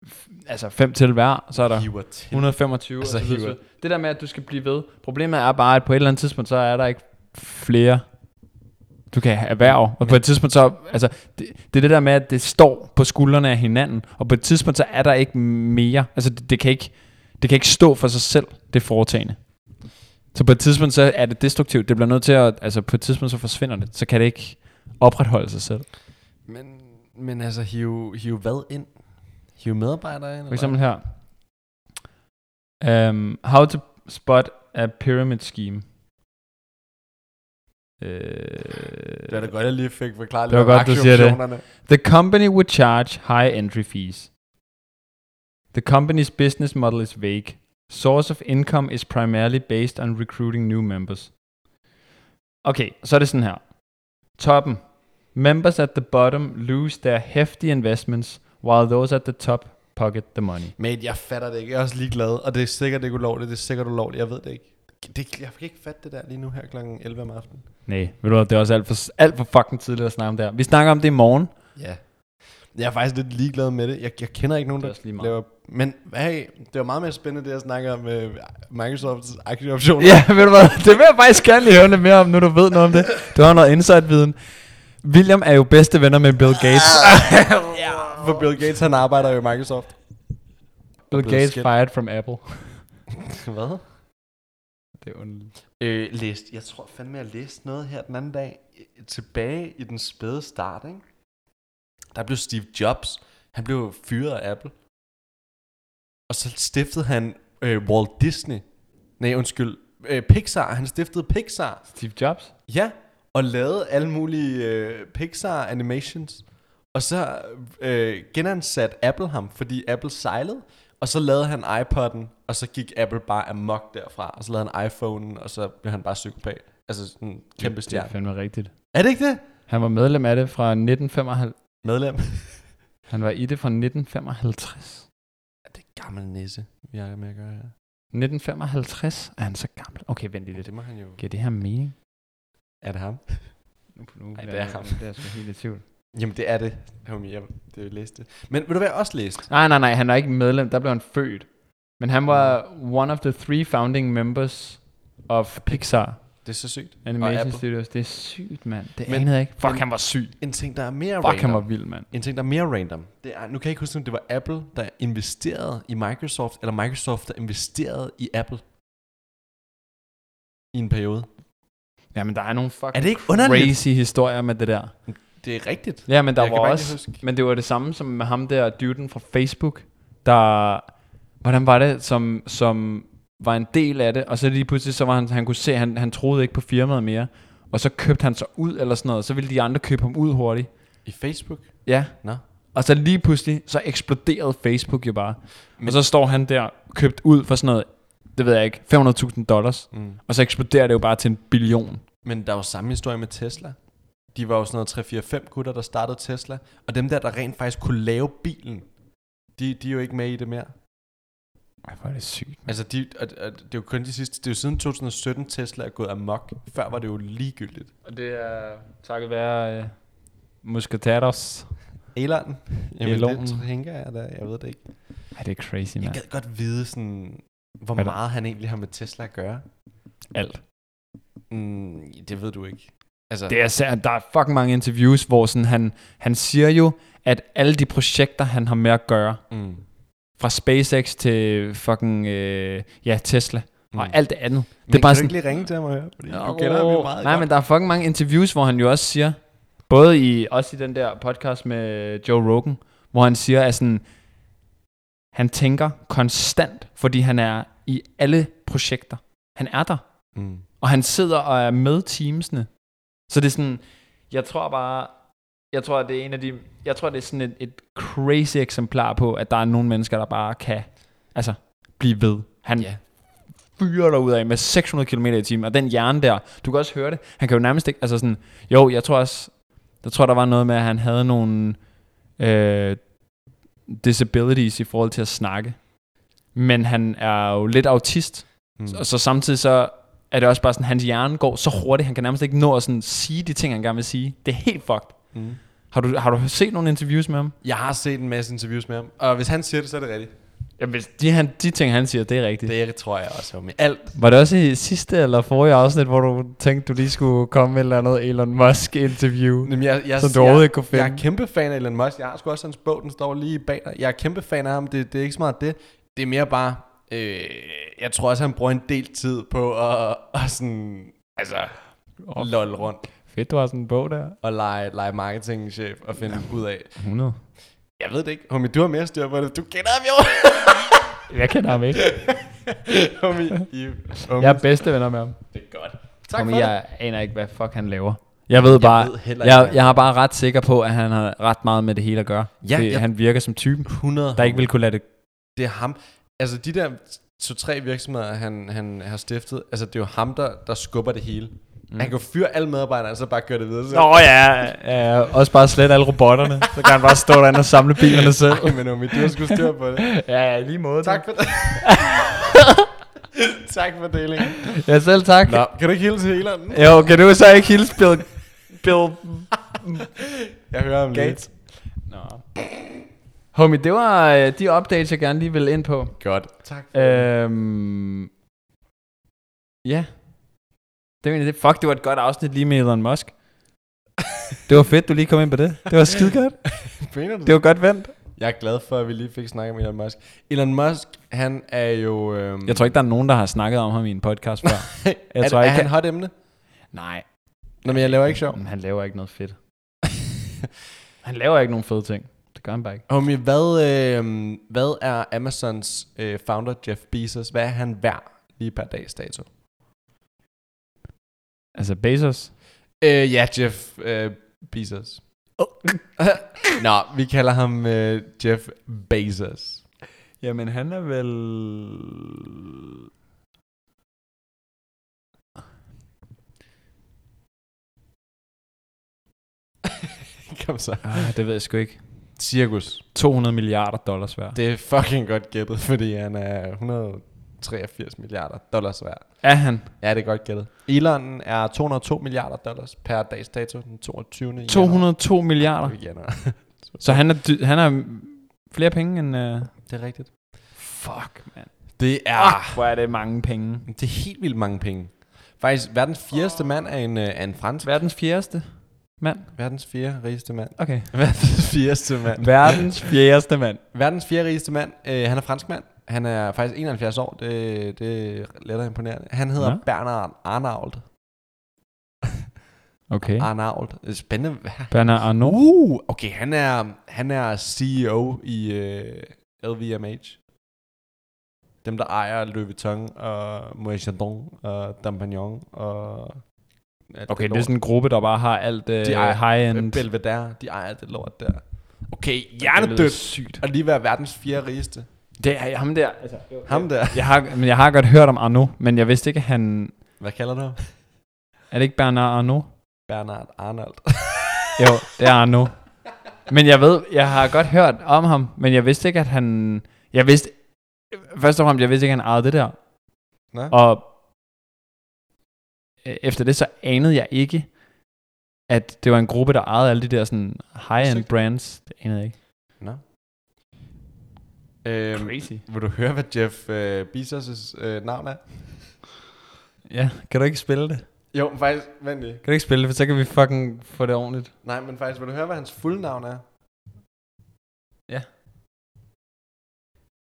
f- altså fem til hver, så er der
hiver til.
125.
Altså,
og så videre.
hiver.
Det der med, at du skal blive ved. Problemet er bare, at på et eller andet tidspunkt, så er der ikke flere, du kan erhverve. Og på et tidspunkt, så... Altså, det, det er det der med, at det står på skuldrene af hinanden. Og på et tidspunkt, så er der ikke mere. Altså, det, det, kan, ikke, det kan ikke stå for sig selv, det foretagende. Så på et tidspunkt, så er det destruktivt. Det bliver nødt til at... Altså, på et tidspunkt, så forsvinder det. Så kan det ikke opretholde sig selv.
Men, men altså, hive, hive hvad ind? Hive medarbejdere ind?
For eksempel her. Um, how to spot a pyramid scheme. Uh,
Det
Øh,
er da godt, jeg lige fik forklaret
Det
lidt
var
om
godt, du siger det.
aktieoptionerne.
the company would charge high entry fees. The company's business model is vague. Source of income is primarily based on recruiting new members. Okay, så er det sådan her. Toppen. Members at the bottom lose their hefty investments, while those at the top pocket the money.
Mate, jeg fatter det ikke. Jeg er også ligeglad, og det er sikkert ikke ulovligt. Det er sikkert ulovligt. Jeg ved det ikke. Det, jeg kan ikke fatte det der lige nu her kl. 11 om aftenen.
Nej, ved du hvad, det er også alt for, alt for fucking tidligt at snakke om det her. Vi snakker om det i morgen.
Ja. Jeg er faktisk lidt ligeglad med det. Jeg, jeg kender ikke nogen,
Det er
der
også lige meget.
laver... Men hey, det var meget mere spændende, det jeg snakker om øh, Microsofts aktieoptioner.
Ja, ved du hvad, det vil jeg faktisk gerne lige høre lidt mere om, nu du ved noget om det. Du har noget insight-viden. William er jo bedste venner med Bill Gates. Ah.
Yeah. For Bill Gates, han arbejder jo i Microsoft.
Bill
blevet
Gates
skilt.
fired from Apple.
Hvad?
Det er underligt.
Øh, læst. Jeg tror fandme, jeg læste noget her den anden dag. øh, Tilbage i den spæde start, ikke? Der blev Steve Jobs. Han blev fyret af Apple. Og så stiftede han øh, Walt Disney. Nej, undskyld. Øh, Pixar. Han stiftede Pixar.
Steve Jobs?
Ja, og lavede alle mulige øh, Pixar animations. Og så øh, genansat Apple ham, fordi Apple sejlede. Og så lavede han iPod'en, og så gik Apple bare amok derfra. Og så lavede han iPhone'en, og så blev han bare psykopat. Altså sådan en kæmpe
Det er
stjerne.
fandme rigtigt.
Er det ikke det?
Han var medlem af det fra 1955.
Medlem.
Han var i det fra 1955.
Er det er gammel nisse, vi har med at gøre her?
1955 er han så gammel. Okay, vent lige
Det,
lidt.
det må han jo.
Giver det her mening?
Er det ham?
Nu, nu
Ej, det er ham.
Det er jeg sgu helt i tvivl.
Jamen det er det, homie. Jeg, det jeg læste. Men vil du være også læst?
Nej, nej, nej, han er ikke medlem, der blev han født. Men han var one of the three founding members of Pixar
Det er så sygt. Og
Animation
Apple.
Studios. Det er sygt, mand. Det
Men-
anede jeg ikke. Fuck,
men-
han var syg.
En ting, der er mere
Fuck, han var vild, mand.
En ting, der er mere random, det er, nu kan jeg ikke huske, om det var Apple, der investerede i Microsoft, eller Microsoft, der investerede i Apple i en periode.
Jamen, der er nogle fucking
Er det ikke underligt?
crazy historier med det der.
Det er rigtigt.
Ja, men der
Jeg
var
kan bare
også...
ikke huske.
Men det var det samme som med ham der, duden fra Facebook, der... Hvordan var det, som, som var en del af det, og så lige pludselig, så var han, han kunne se, han, han troede ikke på firmaet mere, og så købte han sig ud eller sådan noget, og så ville de andre købe ham ud hurtigt.
I Facebook?
Ja,
Nå.
Og så lige pludselig, så eksploderede Facebook jo bare. Men,
Men-
og så står han der, købt ud for sådan noget, det ved jeg ikke, 500.000 dollars.
Mm.
Og så eksploderer det jo bare til en billion.
Men der var samme historie med Tesla. De var jo sådan noget 3-4-5 gutter, der startede Tesla, og dem der, der rent faktisk kunne lave bilen, de, de er jo ikke med i det mere.
Ej, hvor er det sygt.
Altså, de, at, at, det er jo kun de sidste, det er jo siden 2017, Tesla er gået amok. Før var det jo ligegyldigt.
Og det er takket være øh, Muscatatos.
Elon? Jamen,
Elon.
Elon. det tænker jeg da, jeg ved det ikke.
Ej, det er crazy,
Jeg
mand.
gad godt vide, sådan, hvor
Hvad der?
meget han egentlig har med Tesla at gøre.
Alt.
Mm, det ved du ikke. Altså,
Det er, sær- der er fucking mange interviews, hvor sådan han, han siger jo, at alle de projekter, han har med at gøre,
mm,
fra SpaceX til fucking øh, ja, Tesla mm. og alt det andet.
Men det er bare kan
sådan-
du ikke lige ringe til ham og høre? Fordi
Nå,
du kender ham jo meget
Nej,
godt.
men der er fucking mange interviews, hvor han jo også siger, både i, også i den der podcast med Joe Rogan, hvor han siger, at sådan, han tænker konstant, fordi han er i alle projekter. Han er der,
Mm.
og han sidder og er med teamsene. Så det er sådan, jeg tror bare, jeg tror, det er en af de, jeg tror, det er sådan et, et crazy eksemplar på, at der er nogle mennesker, der bare kan, altså, blive ved. Han
Ja.
fyrer dig ud af med 600 km i timen, og den hjerne der, du kan også høre det, han kan jo nærmest ikke, altså sådan, jo, jeg tror også, jeg tror der var noget med, at han havde nogle øh, disabilities i forhold til at snakke, men han er jo lidt autist,
Mm.
og så samtidig så er det også bare sådan, hans hjerne går så hurtigt, han kan nærmest ikke nå at sådan sige de ting, han gerne vil sige. Det er helt fucked.
Mm.
Har du, har du set nogle interviews med ham?
Jeg har set en masse interviews med ham, og hvis han siger det, så er det rigtigt.
Jamen, hvis de, han, de ting, han siger, det er rigtigt. Det.
Det tror jeg også, homie. Alt.
Var det også i sidste eller forrige afsnit, hvor du tænkte, du lige skulle komme med et eller andet Elon Musk-interview?
Jamen, jeg, jeg,
Som du overhovedet ikke kunne finde.
Jeg er kæmpe fan af Elon Musk. Jeg har sgu også hans bog, den står lige bag dig. Jeg er kæmpe fan af ham. Det, det er ikke så meget det. Det er mere bare... Øh, jeg tror også, han bruger en del tid på at, at sådan... Altså,
Åh.
lol rundt
Fedt, du har sådan en bog der.
og lege, lege marketingchef og finde ud af.
100.
Jeg ved det ikke. Homie, du har mere styr på det. Du kender ham jo.
Jeg kender ham ikke.
homie, I, homie.
Jeg er bedste venner med ham.
det er godt. Tak
Jamen,
for det.
jeg aner ikke, hvad fuck han laver. Jeg ved bare,
ved
jeg,
heller ikke,
jeg,
hvad-
jeg er bare ret sikker på, at han har ret meget med det hele at gøre.
Ja,
det,
jeg-
Han virker som typen,
100.
der ikke vil kunne lade det...
det er ham. Altså de der to-tre virksomheder, han, han har stiftet, altså det er jo ham, der, der skubber det hele. Mm. Han kan jo fyre alle medarbejdere, og så bare køre det videre. Så.
ja, ja, også bare slet alle robotterne. Så kan han bare stå derinde og samle bilerne selv.
Ej, men Omi, du har sgu styr på det.
Ja, ja, lige måde.
Tak for det. tak for delingen.
Ja, selv tak.
Nå, kan du ikke hilse hele den?
Jo, kan du så ikke hilse Bill... Bill...
Jeg hører ham lige.
Gates. Nå. Homie, det var øh, de updates, jeg gerne lige ville ind på.
Godt. Tak for det.
Øhm, ja. Det var egentlig det. Fuck, det var et godt afsnit lige med Elon Musk. Det var fedt, du lige kom ind på det. Det var skide godt. Mm.
Mener du
Det var godt vendt.
Jeg er glad for, at vi lige fik snakket med Elon Musk. Elon Musk, han er jo... Øhm,
Jeg tror ikke, der er nogen, der har snakket om ham i en podcast før.
jeg er,
tror
tror, er,
ikke,
han
han-
hot emne?
Nej,
Nå, men jeg laver ikke sjov.
men han laver ikke noget fedt. Han laver ikke nogen fede ting. Det gør han bare ikke.
Homie, hvad, øh, hvad er Amazons øh, founder Jeff Bezos, hvad er han værd lige per dags dato?
Altså Bezos.
Øh, ja, Jeff øh, Bezos.
Oh.
Nå, vi kalder ham øh, Jeff Bezos.
Jamen, han er vel...
Kom så.
Ah, det ved jeg sgu ikke.
Cirkus.
200 milliarder dollars værd.
Det er fucking godt gættet, fordi han er 183 milliarder dollars værd.
Er han?
Ja, det er godt gættet. Elon er 202 milliarder dollars per dags dato den 22. januar.
202 milliarder.
Januar.
Så han er, dy- han er flere penge end... Uh...
Det er rigtigt.
Fuck, mand.
Det er...
Ah, hvor er det mange penge.
Det er helt vildt mange penge. Faktisk, verdens fjerdeste mand er en, øh, er en fransk.
Verdens fjerdeste mand.
Verdens fjerde rigeste mand.
Okay.
Verdens fjerdeste mand.
Verdens fjerdeste mand.
Verdens fjerde rigeste mand. Øh, han er fransk mand. Han er faktisk 71 år. Det, det er lettere imponerende. Han hedder
Nå.
ja. Bernard Arnault.
Okay.
Arnault. Det er Spændende.
Bernard Arnault.
Uh, okay, han er, han er CEO i øh, LVMH. Dem, der ejer Louis Vuitton og Moët Chandon og Dampagnon og... alt
Okay, det
lort.
er sådan en gruppe, der bare har alt uh,
De ejer-
high-end.
Belvedere, de ejer det lort der. Okay,
Det lyder
hjernedødt.
sygt.
Og lige være verdens fjerde rigeste.
Det er ham der. Altså, jo,
Ham der.
Jeg har, men jeg har godt hørt om Arnault, men jeg vidste ikke, at han...
Hvad kalder du ham?
Er det ikke Bernard Arnault?
Bernard Arnold.
Jo, det er Arnault. Men jeg ved, jeg har godt hørt om ham, men jeg vidste ikke, at han... Jeg vidste... Først og fremmest, jeg vidste ikke, at han ejede det der.
Nå?
Og øh, efter det, så anede jeg ikke, at det var en gruppe, der ejede alle de der sådan high-end
Sygt.
brands. Det anede jeg ikke.
Nå. Øhm,
Crazy.
vil du høre, hvad Jeff øh, Bezos' øh, navn er?
Ja, kan du ikke spille det?
Jo, men faktisk, vent lige.
Kan du ikke spille det, for så kan vi fucking få det ordentligt.
Nej, men faktisk, vil du høre, hvad hans fulde navn er?
Ja.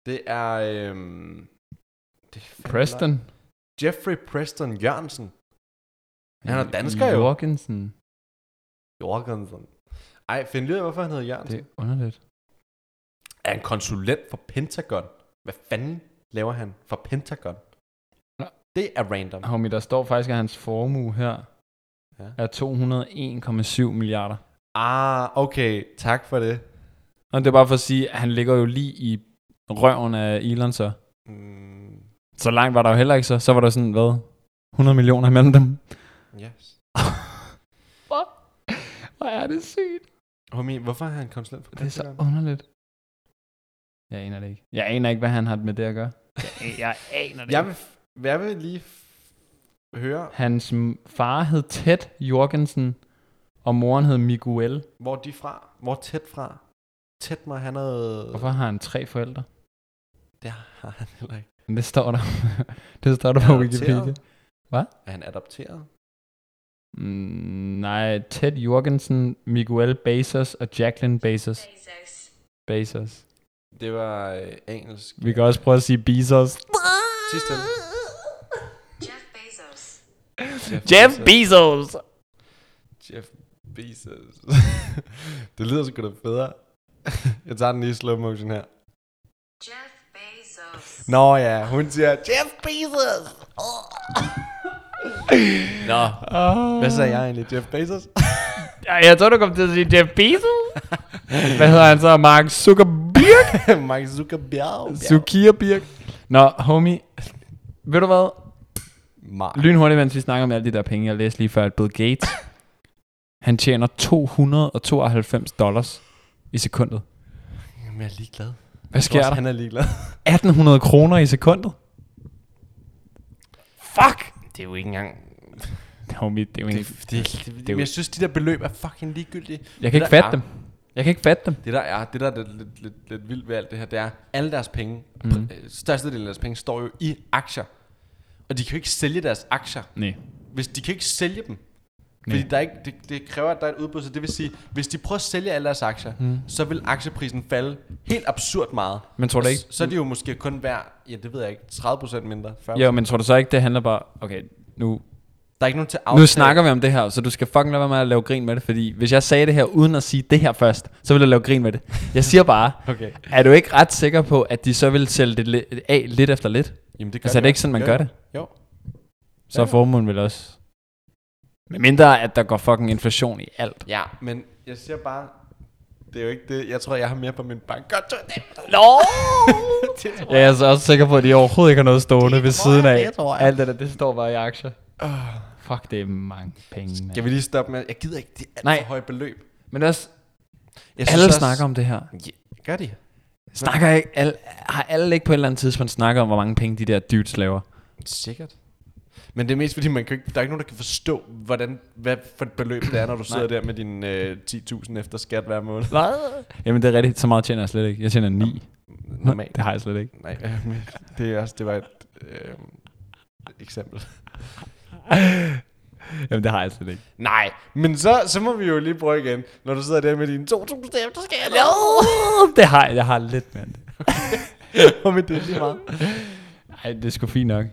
Det er... Øhm, det er fandme
Preston.
løgn. Jeffrey Preston Jørgensen. Han er dansker jo.
Jorgensen.
Jorgensen. Ej, find lige ud af, hvorfor han hedder Jørgensen.
Det er underligt.
er en konsulent for Pentagon. Hvad fanden laver han for Pentagon?
Nå.
Det er random.
Homie, der står faktisk, at hans formue her
Ja.
er 201,7 milliarder.
Ah, okay. Tak for det.
Og det er bare for at sige, at han ligger jo lige i røven af Elon så.
Mm,
Så langt var der jo heller ikke så. Så var der sådan, hvad? 100 millioner imellem dem.
Yes.
Fuck. Hvor er det sygt.
Homie, hvorfor har han konsulent på
Det er så underligt. Jeg aner det ikke. Jeg aner ikke, hvad han har med det at gøre. Jeg, jeg aner det
Jeg
ikke.
vil, jeg vil lige f- høre,
Hans m- far hed Ted Jorgensen, og moren hed Miguel.
hvor de er fra. Hvor tæt fra. Tæt mig, han havde...
Hvorfor har han tre forældre?
Det har han heller ikke.
Men Det står der. det står der
Er
på
han
Wikipedia.
adopteret?
Hvad?
Er han adopteret?
Mm, nej, Ted Jorgensen, Miguel Bezos og Jacqueline Bezos. Bezos.
Det var øh, engelsk.
Vi kan også prøve at sige Bezos.
Sidste.
Jeff Bezos.
Jeff Bezos!
Jeff Bezos. det lyder sgu da bedre. jeg tager den lige i slow motion her.
Jeff Bezos.
Nå ja, hun siger, Jeff Bezos! Nå,
Oh.
hvad sagde jeg egentlig? Jeff Bezos?
Jeg tror, du kom til at sige Jeff Bezos. Hvad hedder han så? Mark Zuckerberg?
Mark Zuckerberg.
Zuckerberg. Nå, homie. Ved du hvad?
Mark.
Lynhurtigt, mens vi snakker om alle de der penge, jeg læste lige før, at Bill Gates, han tjener 292 dollars i sekundet.
Jamen, jeg er ligeglad.
Hvad sker der?
Han er ligeglad.
1800 kroner i sekundet? Fuck!
Det er jo ikke engang...
Homie, det er jo ikke...
Det, det, det,
er jo-
det, jeg synes, de der beløb er fucking ligegyldige.
Jeg kan
det
ikke
der Ah.
fatte dem.
er-
Jeg kan ikke fatte dem.
Det der er, det der er lidt, lidt, lidt, lidt vildt ved alt det her, det er, alle deres penge,
Mhm.
mm. størstedelen af deres penge, står jo i aktier. Og de kan jo ikke sælge deres aktier.
Nej.
Hvis de kan ikke sælge dem.
Nej.
Fordi der er ikke, det, det kræver, at der er et udbud, så det vil sige, hvis de prøver at sælge alle deres aktier, mm. så vil aktieprisen falde helt absurd meget.
Men Mhm. tror du
Og
ikke-
s- Så er de jo måske kun værd, ja det ved jeg ikke, 30% mindre. 40%.
Jo, men tror du så ikke, det handler bare... Okay, nu,
Der er ikke nogen til at
nu
aftale.
snakker vi om det her, så du skal fucking lade være med at lave grin med det, fordi hvis jeg sagde det her uden at sige det her først, så ville jeg lave grin med det. Jeg siger bare,
Okay.
er du ikke ret sikker på, at de så vil sælge det li- af lidt efter lidt?
Jamen, det gør
Altså, er
de
det ikke sådan, man
jo.
gør det?
Jo.
Så
Ja.
er formuen vel også... Med mindre, at der går fucking inflation i alt.
Ja, men jeg siger bare, det er jo ikke det. Jeg tror, jeg har mere på min bankkonto.
Nå!
Det tror
Ja, jeg er så også sikker på, at de overhovedet ikke har noget stående ved siden
jeg,
af.
det tror jeg. Øh.
Alt det der, det står bare i aktier. Fuck, det er mange penge,
Jeg
man.
vil lige stoppe med, jeg gider ikke det alt
Nej.
for høje beløb.
Men også,
Jeg
alle snakker om det her.
Ja, gør de?
Snakker ikke, alle, har alle ikke på et eller andet tidspunkt snakket om, hvor mange penge de der dudes laver?
Sikkert. Men det er mest fordi, man kan ikke, der er ikke nogen, der kan forstå, hvordan, hvad for et beløb det er, når du sidder der med dine øh, 10.000 efter skat hver måned.
Hvad? Jamen, det er rigtigt. Så meget tjener jeg slet ikke. Jeg tjener 9.
Normalt.
Det har jeg slet ikke.
Nej, øh, men det, er også, det var et øh, eksempel.
Jamen, det har jeg slet ikke.
Nej, men så, så må vi jo lige prøve igen, når du sidder der med dine 2.000 efter skat.
Jo! Det har jeg. Jeg har lidt mere end det.
Og med det er lige meget.
Ej, det er sgu fint nok.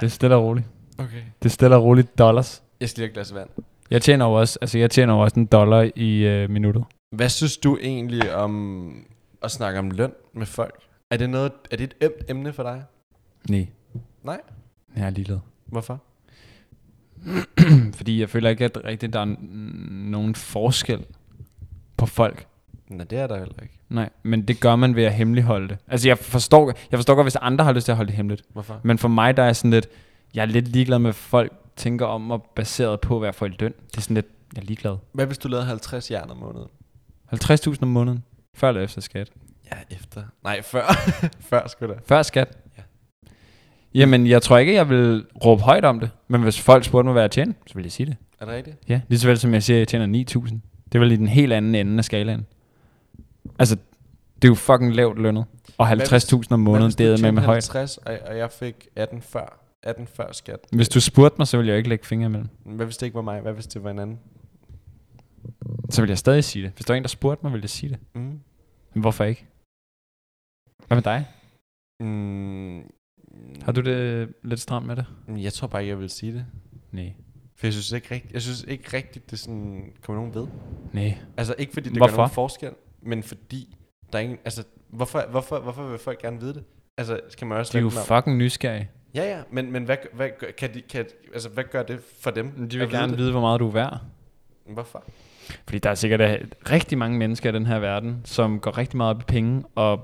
Det er stille og roligt.
Okay.
Det er stille og roligt dollars.
Jeg skal lige have et glas vand.
Jeg tjener jo også, altså jeg tjener jo også en dollar i øh, minuttet.
Hvad synes du egentlig om at snakke om løn med folk? Er det, noget, er det et ømt emne for dig?
Nej.
Nej.
Jeg er ligeglad. Mm,
Hvorfor?
Fordi jeg føler ikke, at rigtig der er n- nogen forskel på folk.
Nej, det er der heller ikke.
Nej, men det gør man ved at hemmeligholde det. Altså jeg forstår, jeg forstår godt, hvis andre har lyst til at holde det hemmeligt.
Hvorfor?
Men for mig, der er sådan lidt, jeg er lidt ligeglad med, hvad folk tænker om mig, baseret på, hvad jeg får i løn. Det er sådan lidt, jeg er ligeglad.
Hvad hvis du lavede 50 jern om måneden?
50.000 om måneden. Før eller efter skat?
Ja, efter. Nej, før. før skulle da.
Før skat?
Ja.
Jamen, jeg tror ikke, jeg vil råbe højt om det. Men hvis folk spurgte mig, hvad jeg tjener, så vil jeg sige det.
Er det rigtigt?
Ja, lige så vel som jeg siger, at jeg tjener 9.000. Det er vel i den helt anden ende af skalaen. Altså, det er jo fucking lavt lønnet. Og 50.000 om måneden, det er med med højt.
50, og, og jeg fik 18 før. 18 før skat. Øh,
Hvis du spurgte mig, så ville jeg jo ikke lægge fingre imellem.
Hvad hvis det ikke var mig? Hvad hvis det var en anden?
Så ville jeg stadig sige det. Hvis der var en, der spurgte mig, ville jeg sige det.
Mm.
Men hvorfor ikke? Hvad med dig?
Mm.
Har du det lidt stramt med det?
Jeg tror bare ikke, jeg vil sige det.
Nej.
For jeg synes ikke rigtigt, jeg synes ikke rigtigt det sådan, kommer nogen ved.
Nej.
Altså ikke fordi det
Hvorfor?
gør nogen forskel, men fordi der er ingen, altså hvorfor, hvorfor, hvorfor vil folk gerne vide det? Altså skal man også
De er jo
lade dem om-
fucking nysgerrige.
Ja, ja, men, men hvad, hvad, gør- kan de, kan, altså, hvad gør det for dem?
De
at
vil gerne
det?
vide, hvor meget du er værd.
Hvorfor?
Fordi der er sikkert øh, rigtig mange mennesker i den her verden, som går rigtig meget op i penge og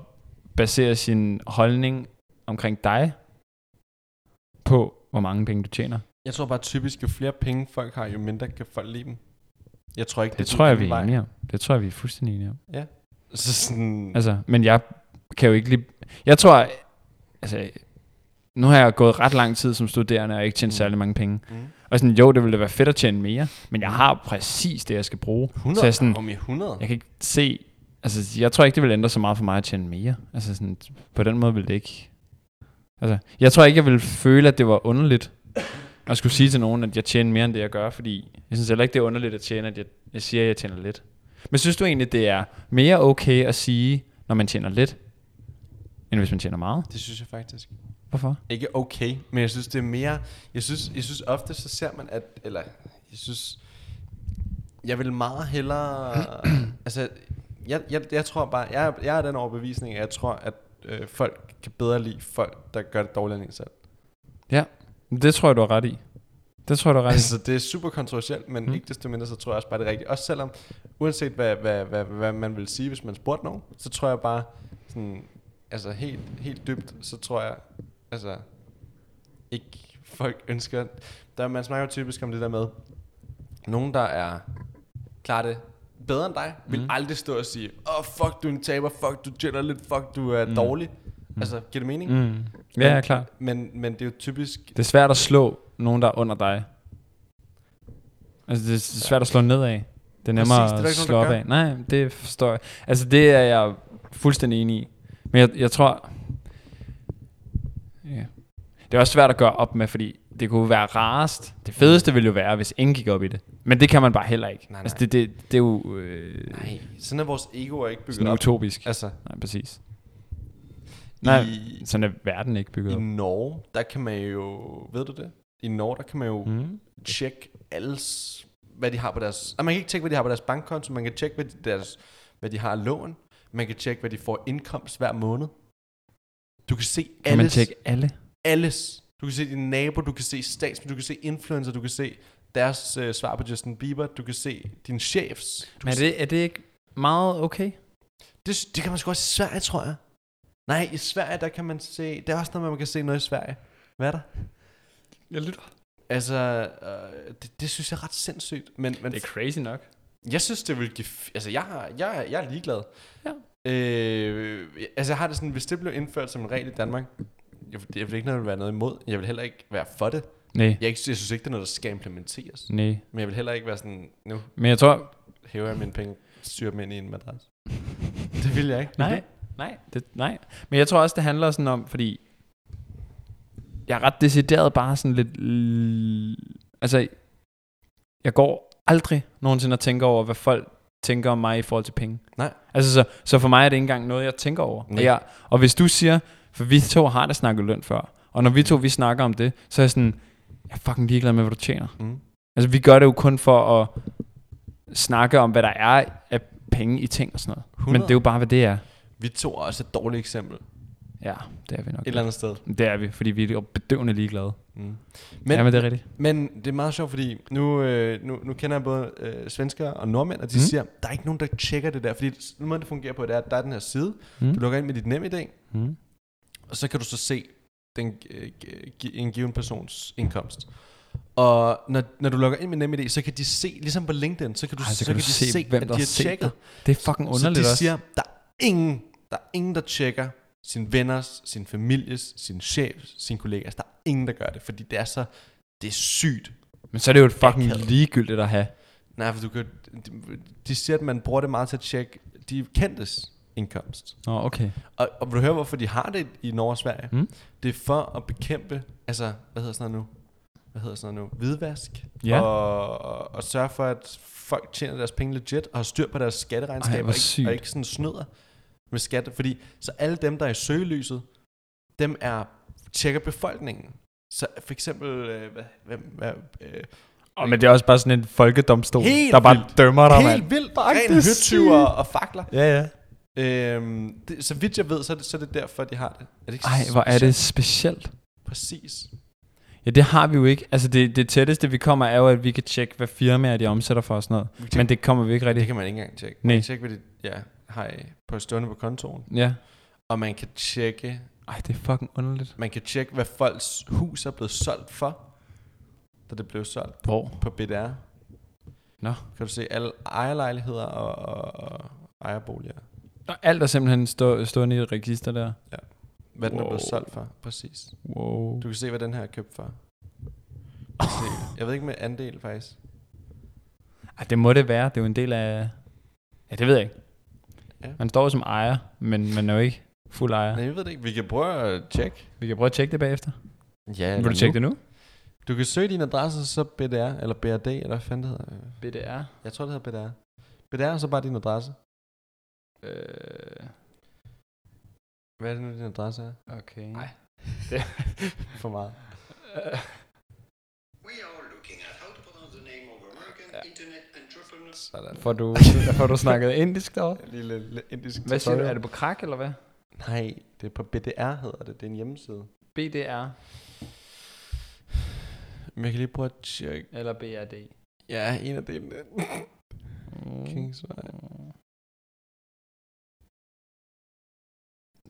baserer sin holdning omkring dig på, hvor mange penge du tjener.
Jeg tror bare typisk, jo flere penge folk har, jo mindre kan folk lide dem. Jeg tror ikke,
Det, det
den
tror jeg, vi
anden
er
vej.
enige om. Det tror jeg, vi er fuldstændig enige om.
Så sådan, altså,
Altså, men jeg kan jo ikke lige... Jeg tror... Altså, nu har jeg gået ret lang tid som studerende og ikke tjent
Mm.
særlig mange penge.
Mm.
Mm. Og sådan, jo, det ville da være fedt at tjene mere, men jeg har præcis det, jeg skal bruge.
100,
Så jeg, sådan,
om i 100.
jeg kan ikke se... Altså, jeg tror ikke, det vil ændre så meget for mig at tjene mere. Altså, sådan, på den måde ville det ikke... Altså, jeg tror ikke, jeg ville føle, at det var underligt at skulle sige til nogen, at jeg tjener mere, end det jeg gør, fordi jeg synes heller ikke, det er underligt at tjene, at jeg, jeg siger, at jeg tjener lidt. Men synes du egentlig, det er mere okay at sige, når man tjener lidt, end hvis man tjener meget?
Det synes jeg faktisk.
Hvorfor?
ikke okay, men jeg synes, det er mere... Jeg synes, jeg synes ofte, så ser man, at... Eller, jeg synes... Jeg vil meget hellere... altså, jeg, jeg, jeg tror bare... Jeg, er- jeg er den overbevisning, at jeg tror, at øh, folk kan bedre lide folk, der gør det dårligere end en selv.
Ja, det tror jeg, du har ret i. Det tror jeg, du har ret i.
Altså, det er super kontroversielt, men mm.
Mm.
ikke desto mindre, så tror jeg også bare, det er rigtigt. Også selvom, uanset hvad, hvad, hvad, hvad man vil sige, hvis man spurgte nogen, så tror jeg bare, sådan, altså helt, helt dybt, så tror jeg, altså, ikke folk ønsker... Der, man snakker jo typisk om det der med, nogen, der er klarer det bedre end dig, vil
Mm.
aldrig stå og sige, åh, oh, fuck, du er en taber, fuck, du tjener lidt, fuck, du er mm. dårlig. Altså, giver det mening?
Mm. Mhm. Ja, ja, klar.
Men, men det er jo typisk...
Det er svært at slå nogen, der er under dig. Altså, det er s- svært at slå nedad. Det er nemmere
Præcis, det er der
at
ikke nogen,
slå
der
opad. Nej, det forstår jeg. Altså, det er jeg fuldstændig enig i. Men jeg, jeg tror... Ja. Det er også svært at gøre op med, fordi det kunne være rarest. Det fedeste ville jo være, hvis ingen gik op i det. Men det kan man bare heller ikke.
Mm. Nej,
Altså,
nej.
det, det, det er jo øh,
Nej, sådan er vores egoer ikke bygget
sådan
op.
utopisk. Altså,
Altså,
nej, præcis. Altså, Nej,
I-
sådan er verden ikke bygget op.
I Norge, der kan man jo, ved du det? I Norge, der kan man jo mm.
Mm.
tjekke alles, hvad de har på deres... Nej, man kan ikke tjekke, hvad de har på deres bankkonto, man kan tjekke, hvad de, deres, hvad de har af lån, man kan tjekke, hvad de får i indkomst hver måned. Du kan se
Kan man
alles,
tjekke alle?
alles. Du kan se dine naboer, du kan se stats, du kan se influencer, du kan se deres øh, svar på Justin Bieber, du kan se din chefs. Du
Men er
kan
det, er det ikke meget okay?
Det, det kan man sgu også i Sverige, tror jeg. Nej, i Sverige, der kan man se... Der er også noget, med, man kan se noget i Sverige. Hvad er der?
Jeg lytter.
Altså, øh, det, det synes jeg er ret sindssygt. Men, men
Det er crazy nok.
jeg synes, det vil give... f- Altså, jeg, har, jeg, er- jeg er ligeglad.
Ja.
Øh, altså, jeg har det sådan, hvis det blev indført som en regel i Danmark, jeg, jeg vil ikke noget, være noget imod. Jeg vil heller ikke være for det.
Nej,
Jeg, er ikke, jeg synes ikke, det er noget, der skal implementeres.
nej.
Men jeg vil heller ikke være sådan, nu
Men jeg tror...
hæver jeg mine penge, styrer dem ind i en madras. Det vil jeg ikke.
Nej, nej, det, nej. Men jeg tror også, det handler sådan om, fordi... Jeg er ret decideret bare sådan lidt... l- Altså, jeg går aldrig nogensinde og tænker over, hvad folk tænker om mig i forhold til penge.
Nej.
Altså, så, så for mig er det ikke engang noget, jeg tænker over.
Nej.
Og, jeg, og hvis du siger, for vi to har da snakket løn før, og når vi to vi snakker om det, så er jeg sådan, jeg er fucking ligeglad med, hvad du tjener.
Mm.
Altså, vi gør det jo kun for at snakke om, hvad der er af penge i ting og sådan noget. 100.
100.
Men det er jo bare, hvad det er.
Vi tog også et dårligt eksempel et
Ja, det er vi nok.
eller andet sted.
Det er vi, fordi vi er bedøvende ligeglade.
Mm.
Men, ja,
Men,
men det er rigtigt.
men det er meget sjovt, fordi nu, øh, nu, nu kender jeg både øh, svenskere og nordmænd, og de mm.
Mm.
siger, der er ikke nogen, der tjekker det der. Fordi den måde, det fungerer på, det er, at der er den her side. Mm.
Mm.
Du logger ind med dit NemID,
Mm.
og så kan du så se den, øh, gi- en given persons indkomst. Og når, når du logger ind med NemID, så kan de se, ligesom på LinkedIn, så kan du,
Ej, så kan du
de
se, hvem
at
der
de
har
har
set
tjekket.
Det er fucking
Så de
underligt også.
siger, der er ingen, der er ingen, der tjekker sin venners, sin families, sin chef, sin kollegas. Der er ingen, der gør det, fordi det er så, det er sygt.
Men så er det jo et fucking
Akavet.
ligegyldigt at have.
Nej, for du kan, de, de siger, at man bruger det meget til at tjekke de kendtes indkomst.
Nå, okay.
Og, og vil du høre, hvorfor de har det i Norge og Sverige?
Mm.
Det er for at bekæmpe, altså, hvad hedder sådan noget nu? Hvad hedder sådan noget nu? Hvidvask.
Ja.
Og, og, og sørge for, at folk tjener deres penge legit, og har styr på deres skatteregnskaber,
Ej, hvor
og, ikke,
sygt.
og ikke sådan snyder med skat. Fordi så alle dem, der er i søgelyset, dem er, tjekker befolkningen. Så for eksempel, øh, hvad, hvem, hvad, øh,
Og men det er også bare sådan en folkedomstol,
Helt
der bare
vildt.
dømmer dig, mand.
helt vildt, ren
det er
høtyver og fakler.
Ja, ja.
Øhm, det, så vidt jeg ved, så er, det, så er det derfor, de har det. Er det ikke
Ej, hvor er det
specielt?
specielt.
Præcis.
Ja, det har vi jo ikke. Altså, det, det tætteste, vi kommer, er jo, at vi kan tjekke, hvad firmaer de omsætter for og sådan noget.
tjekke-
Men det kommer vi ikke
Det
rigtig.
kan man ikke engang tjekke. Man
Nej.
kan tjekke, hvad det ja, har I på stående på kontoen.
Ja.
Og man kan tjekke...
Ej, det er fucking underligt.
Man kan tjekke, hvad folks hus er blevet solgt for, da det blev solgt
Hvor?
på BDR.
Nå.
Kan du se alle ejerlejligheder og, og, og ejerboliger.
Og alt er simpelthen stå, stående i et register der.
Hvad den er blevet
Wow.
solgt for, præcis.
Wow.
Du kan se, hvad den her er købt for. Du kan se- Jeg ved ikke med andel, faktisk.
Ej, det må det være. Det er jo en del af... Ja, det ved jeg ikke.
Ja.
Man står jo som ejer, men man er jo ikke fuld ejer.
Nej, jeg ved det ikke. Vi kan prøve at tjekke.
Vi kan prøve at tjekke det bagefter.
Ja,
Vil du tjekke det nu?
Du kan søge din adresse, så BDR, eller BRD, eller hvad fanden det hedder.
BDR.
Jeg tror, det hedder BDR. BDR er så bare din adresse.
Øh,
Hvad er det nu, din adresse er?
okay.
Ej. For meget.
We are looking at how to pronounce the name of American internet entrepreneur.
Sådan.
Får du, får du snakket indisk derovre?
Lille, lille indisk
Hvad siger du?
tutorial.
Er det på krak, eller hvad?
Nej, det er på BDR hedder det. Det er en hjemmeside.
BDR
Men jeg kan lige prøve at tjekke.
eller BRD?
Ja, en af delene.
Mm.
Kingsvej.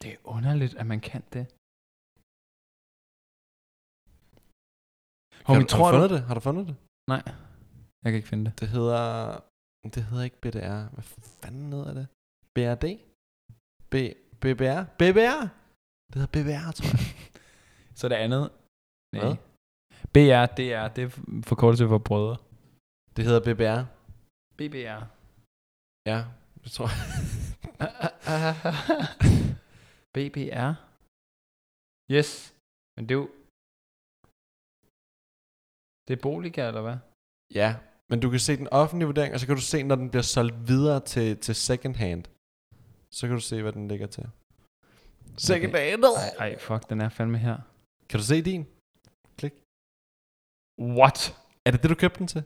Det er underligt, at man kan det. Homie,
Har, du- har
tror
du fundet
du?
det? Har du fundet det?
Nej, jeg kan ikke finde det.
Det hedder... Det hedder ikke BDR. Hvad fanden hedder det? BRD? B, BBR? BBR? Det hedder BBR, tror jeg.
Så det andet? Nej.
Hvad?
BR, DR, det er forkortelse for brødre.
det hedder BBR.
BBR.
Ja, det tror jeg.
BBR? Yes. Men det er jo... Det er Boliga, eller hvad?
Ja, men du kan se den offentlige vurdering, og så kan du se, når den bliver solgt videre til, til second hand. Så kan du se, hvad den ligger til. Second hand!
Ej, fuck, den er fandme her.
Kan du se din?
What?
Er det det, du købte den til?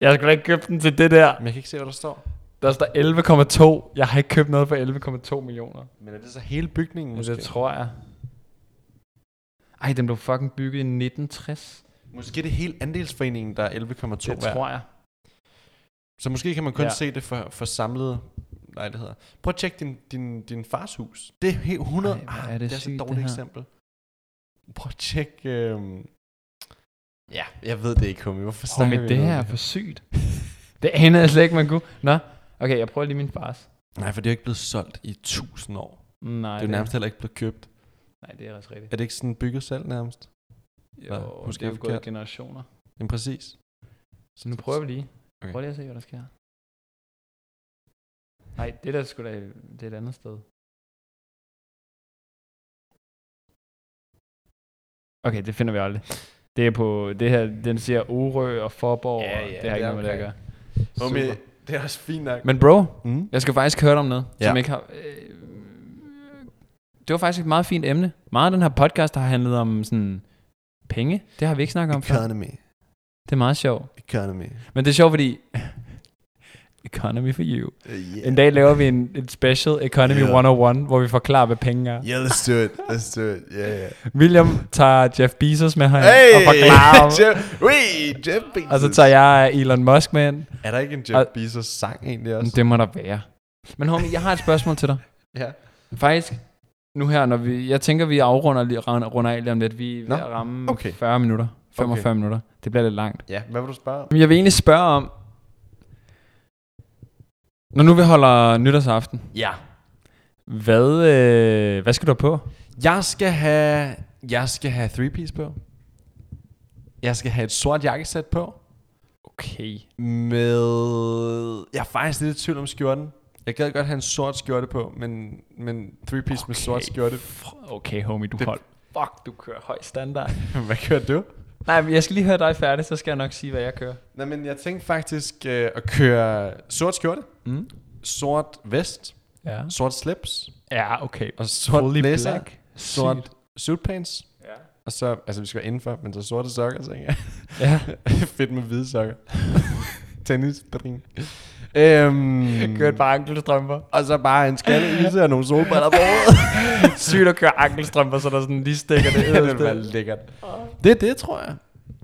Jeg skulle ikke købe den til det der.
Men jeg kan ikke se, hvad der står.
Der står 11,2. Jeg har ikke købt noget for 11,2 millioner.
Men er det så hele bygningen
Men
måske?
det tror jeg. Ej, den blev fucking bygget i 1960.
Måske er det hele andelsforeningen, der er 11,2
Det
værd.
tror jeg.
Så måske kan man kun
Ja.
ja. se det for, for samlede lejligheder. Prøv at tjekke din, din, din fars hus. Det er helt 100...
Ej,
Ej,
hvor
er
er det
det, det er så
sygt,
et
det
dårligt
her.
eksempel. Prøv at tjekke... Øh... Ja, jeg ved det ikke, Homie. Hvorfor
Åh,
snakker
men
vi
det
om
her er for sygt. Det anede jeg slet ikke, man kunne. Nå, okay, jeg prøver lige min fars.
Nej, for det er jo ikke blevet solgt i 1000 år. Ej,
Mm, Nej,
det er jo nærmest heller ikke blevet købt.
nej, det er også rigtigt.
Er det ikke sådan bygget selv nærmest?
Jo,
måske
måske det er jo
jeg
gået i
forkert.
generationer.
Jamen præcis.
Så nu prøver vi lige. Okay.
Okay.
Prøv lige at se, hvad der sker. Nej, det der skulle da, det er et andet sted. Okay, det finder vi aldrig. Det er på, det her, den siger Orø og Forborg,
Ja,
ja,
ja,
ja, det har ikke
det er
noget med det at gøre.
okay.
Super.
det er også fint nok.
Men bro,
Mm.
jeg skal faktisk høre dig om noget, ja.
Ja.
som jeg ikke har... Øh, det var faktisk et meget fint emne. Meget af den her podcast har handlet om sådan penge. Det har vi ikke snakket om før.
Economy.
Det er meget sjovt.
Economy.
Men det er sjovt, fordi... Economy for you.
Uh, yeah.
En dag laver vi en, en special Economy
Ja.
101, hvor vi forklarer, hvad penge er.
Yeah, let's do it. Let's do it. Yeah, yeah.
William tager Jeff Bezos med herind hey! og forklarer ham.
Jeff, Wee, Jeff Bezos.
Og så tager jeg Elon Musk med ind.
Er der ikke en
Og-
Jeff Bezos sang egentlig
Men
også?
det må der være. Men homie, jeg har et spørgsmål til dig.
Ja.
Faktisk, nu her, når vi, jeg tænker, vi afrunder lige, runder runder af lige om lidt. Vi er
Nå,
ved at ramme okay.
okay.
40 minutter. 45 okay. minutter. Det bliver lidt langt.
Ja, hvad vil du spørge om?
Men jeg vil egentlig spørge om, når nu vi holder nytårsaften,
Ja.
Hvad, øh, hvad skal du have på?
Jeg skal have, jeg skal have three piece på. Jeg skal have et sort jakkesæt på.
Okay.
Med... Jeg er faktisk lidt i tvivl om skjorten. Jeg gad godt have en sort skjorte på, men, men three piece okay. med sort skjorte.
Okay, homie, du
Det-
hold. Fuck, du kører høj standard.
Hvad kører du?
Nej, men jeg skal lige høre dig færdig, så skal jeg nok sige, hvad jeg kører.
Nej, men jeg tænkte faktisk øh, at køre sort skjorte,
Mm.
sort vest,
Ja.
sort slips,
Ja, okay.
og sort
Fully
blazer,
black.
sort
Sygt.
suitpants,
Ja.
og så, altså vi skal være indenfor, men så sorte sokker, tænker jeg.
ja.
Fedt med hvide sokker. Tennis, bring. Øhm,
Kørt bare ankelstrømper.
Og så bare en skalleise og nogle solbriller på hovedet.
Sygt at køre ankelstrømper, så der sådan lige stikker det
det ville være
yderste.
lækkert. Det er det, tror jeg.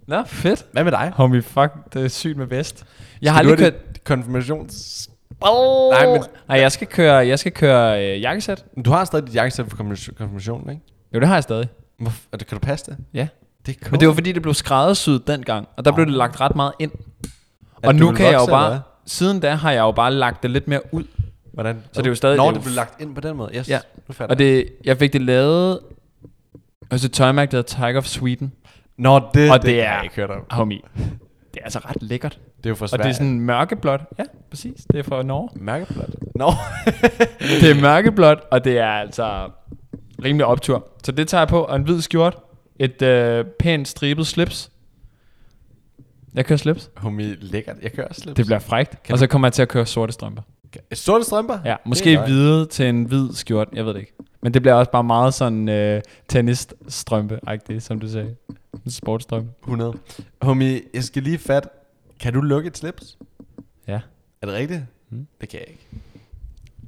Nå, fedt.
Hvad med dig?
Homie, fuck, det er sygt med vest. Jeg har
Har du
lige
have
kørt...
dit konfirmations...
Oh.
Nej, men-
Nej, jeg skal køre, jeg skal køre øh, jakkesæt.
Du har stadig dit jakkesæt for konfirmation- konfirmationen, ikke?
Jo, det har jeg stadig.
Hvorfor, er det, kan du passe det?
Ja. Ah.
Det er cool.
Men det var fordi, det blev skræddersyet dengang, og der blev det lagt ret meget ind.
At
Og
det
nu
ville
kan jeg jo
vokse,
bare...
eller
Siden da har jeg jo bare lagt det lidt mere ud.
Hvordan?
Så det er jo stadig-
Når
det er
det
jo
blev
f-
lagt ind på den måde. Yes,
Ja.
nu falder
Og det, jeg fik det lavet hos et tøjmærke, der hedder Tiger of Sweden.
Nå, det,
Og det,
det
er,
jeg ikke hørt om.
homie, det er altså ret lækkert.
Det er jo for
Og
svært.
det er sådan mørkeblåt. Ja, præcis. Det er fra Norge.
mærkeblot. Nå.
Det er mørkeblåt, og det er altså rimelig optur. Så det tager jeg på, og en hvid skjort, et øh, pænt stribet slips. Jeg kører slips.
Homie, lækkert. Jeg kører også slips.
Det bliver frægt. Kan og så kommer jeg til at køre sorte strømper.
Sorte strømper?
Ja,
Det er
måske
løgn.
hvide til en hvid skjort, jeg ved det ikke. Men det bliver også bare meget sådan øh, tennisstrømpe-agtigt, som du sagde. En Sportsstrømpe.
100. Homie, jeg skal lige fat. Kan du lukke et slips?
Ja.
Er det rigtigt? Mm. Det kan jeg ikke.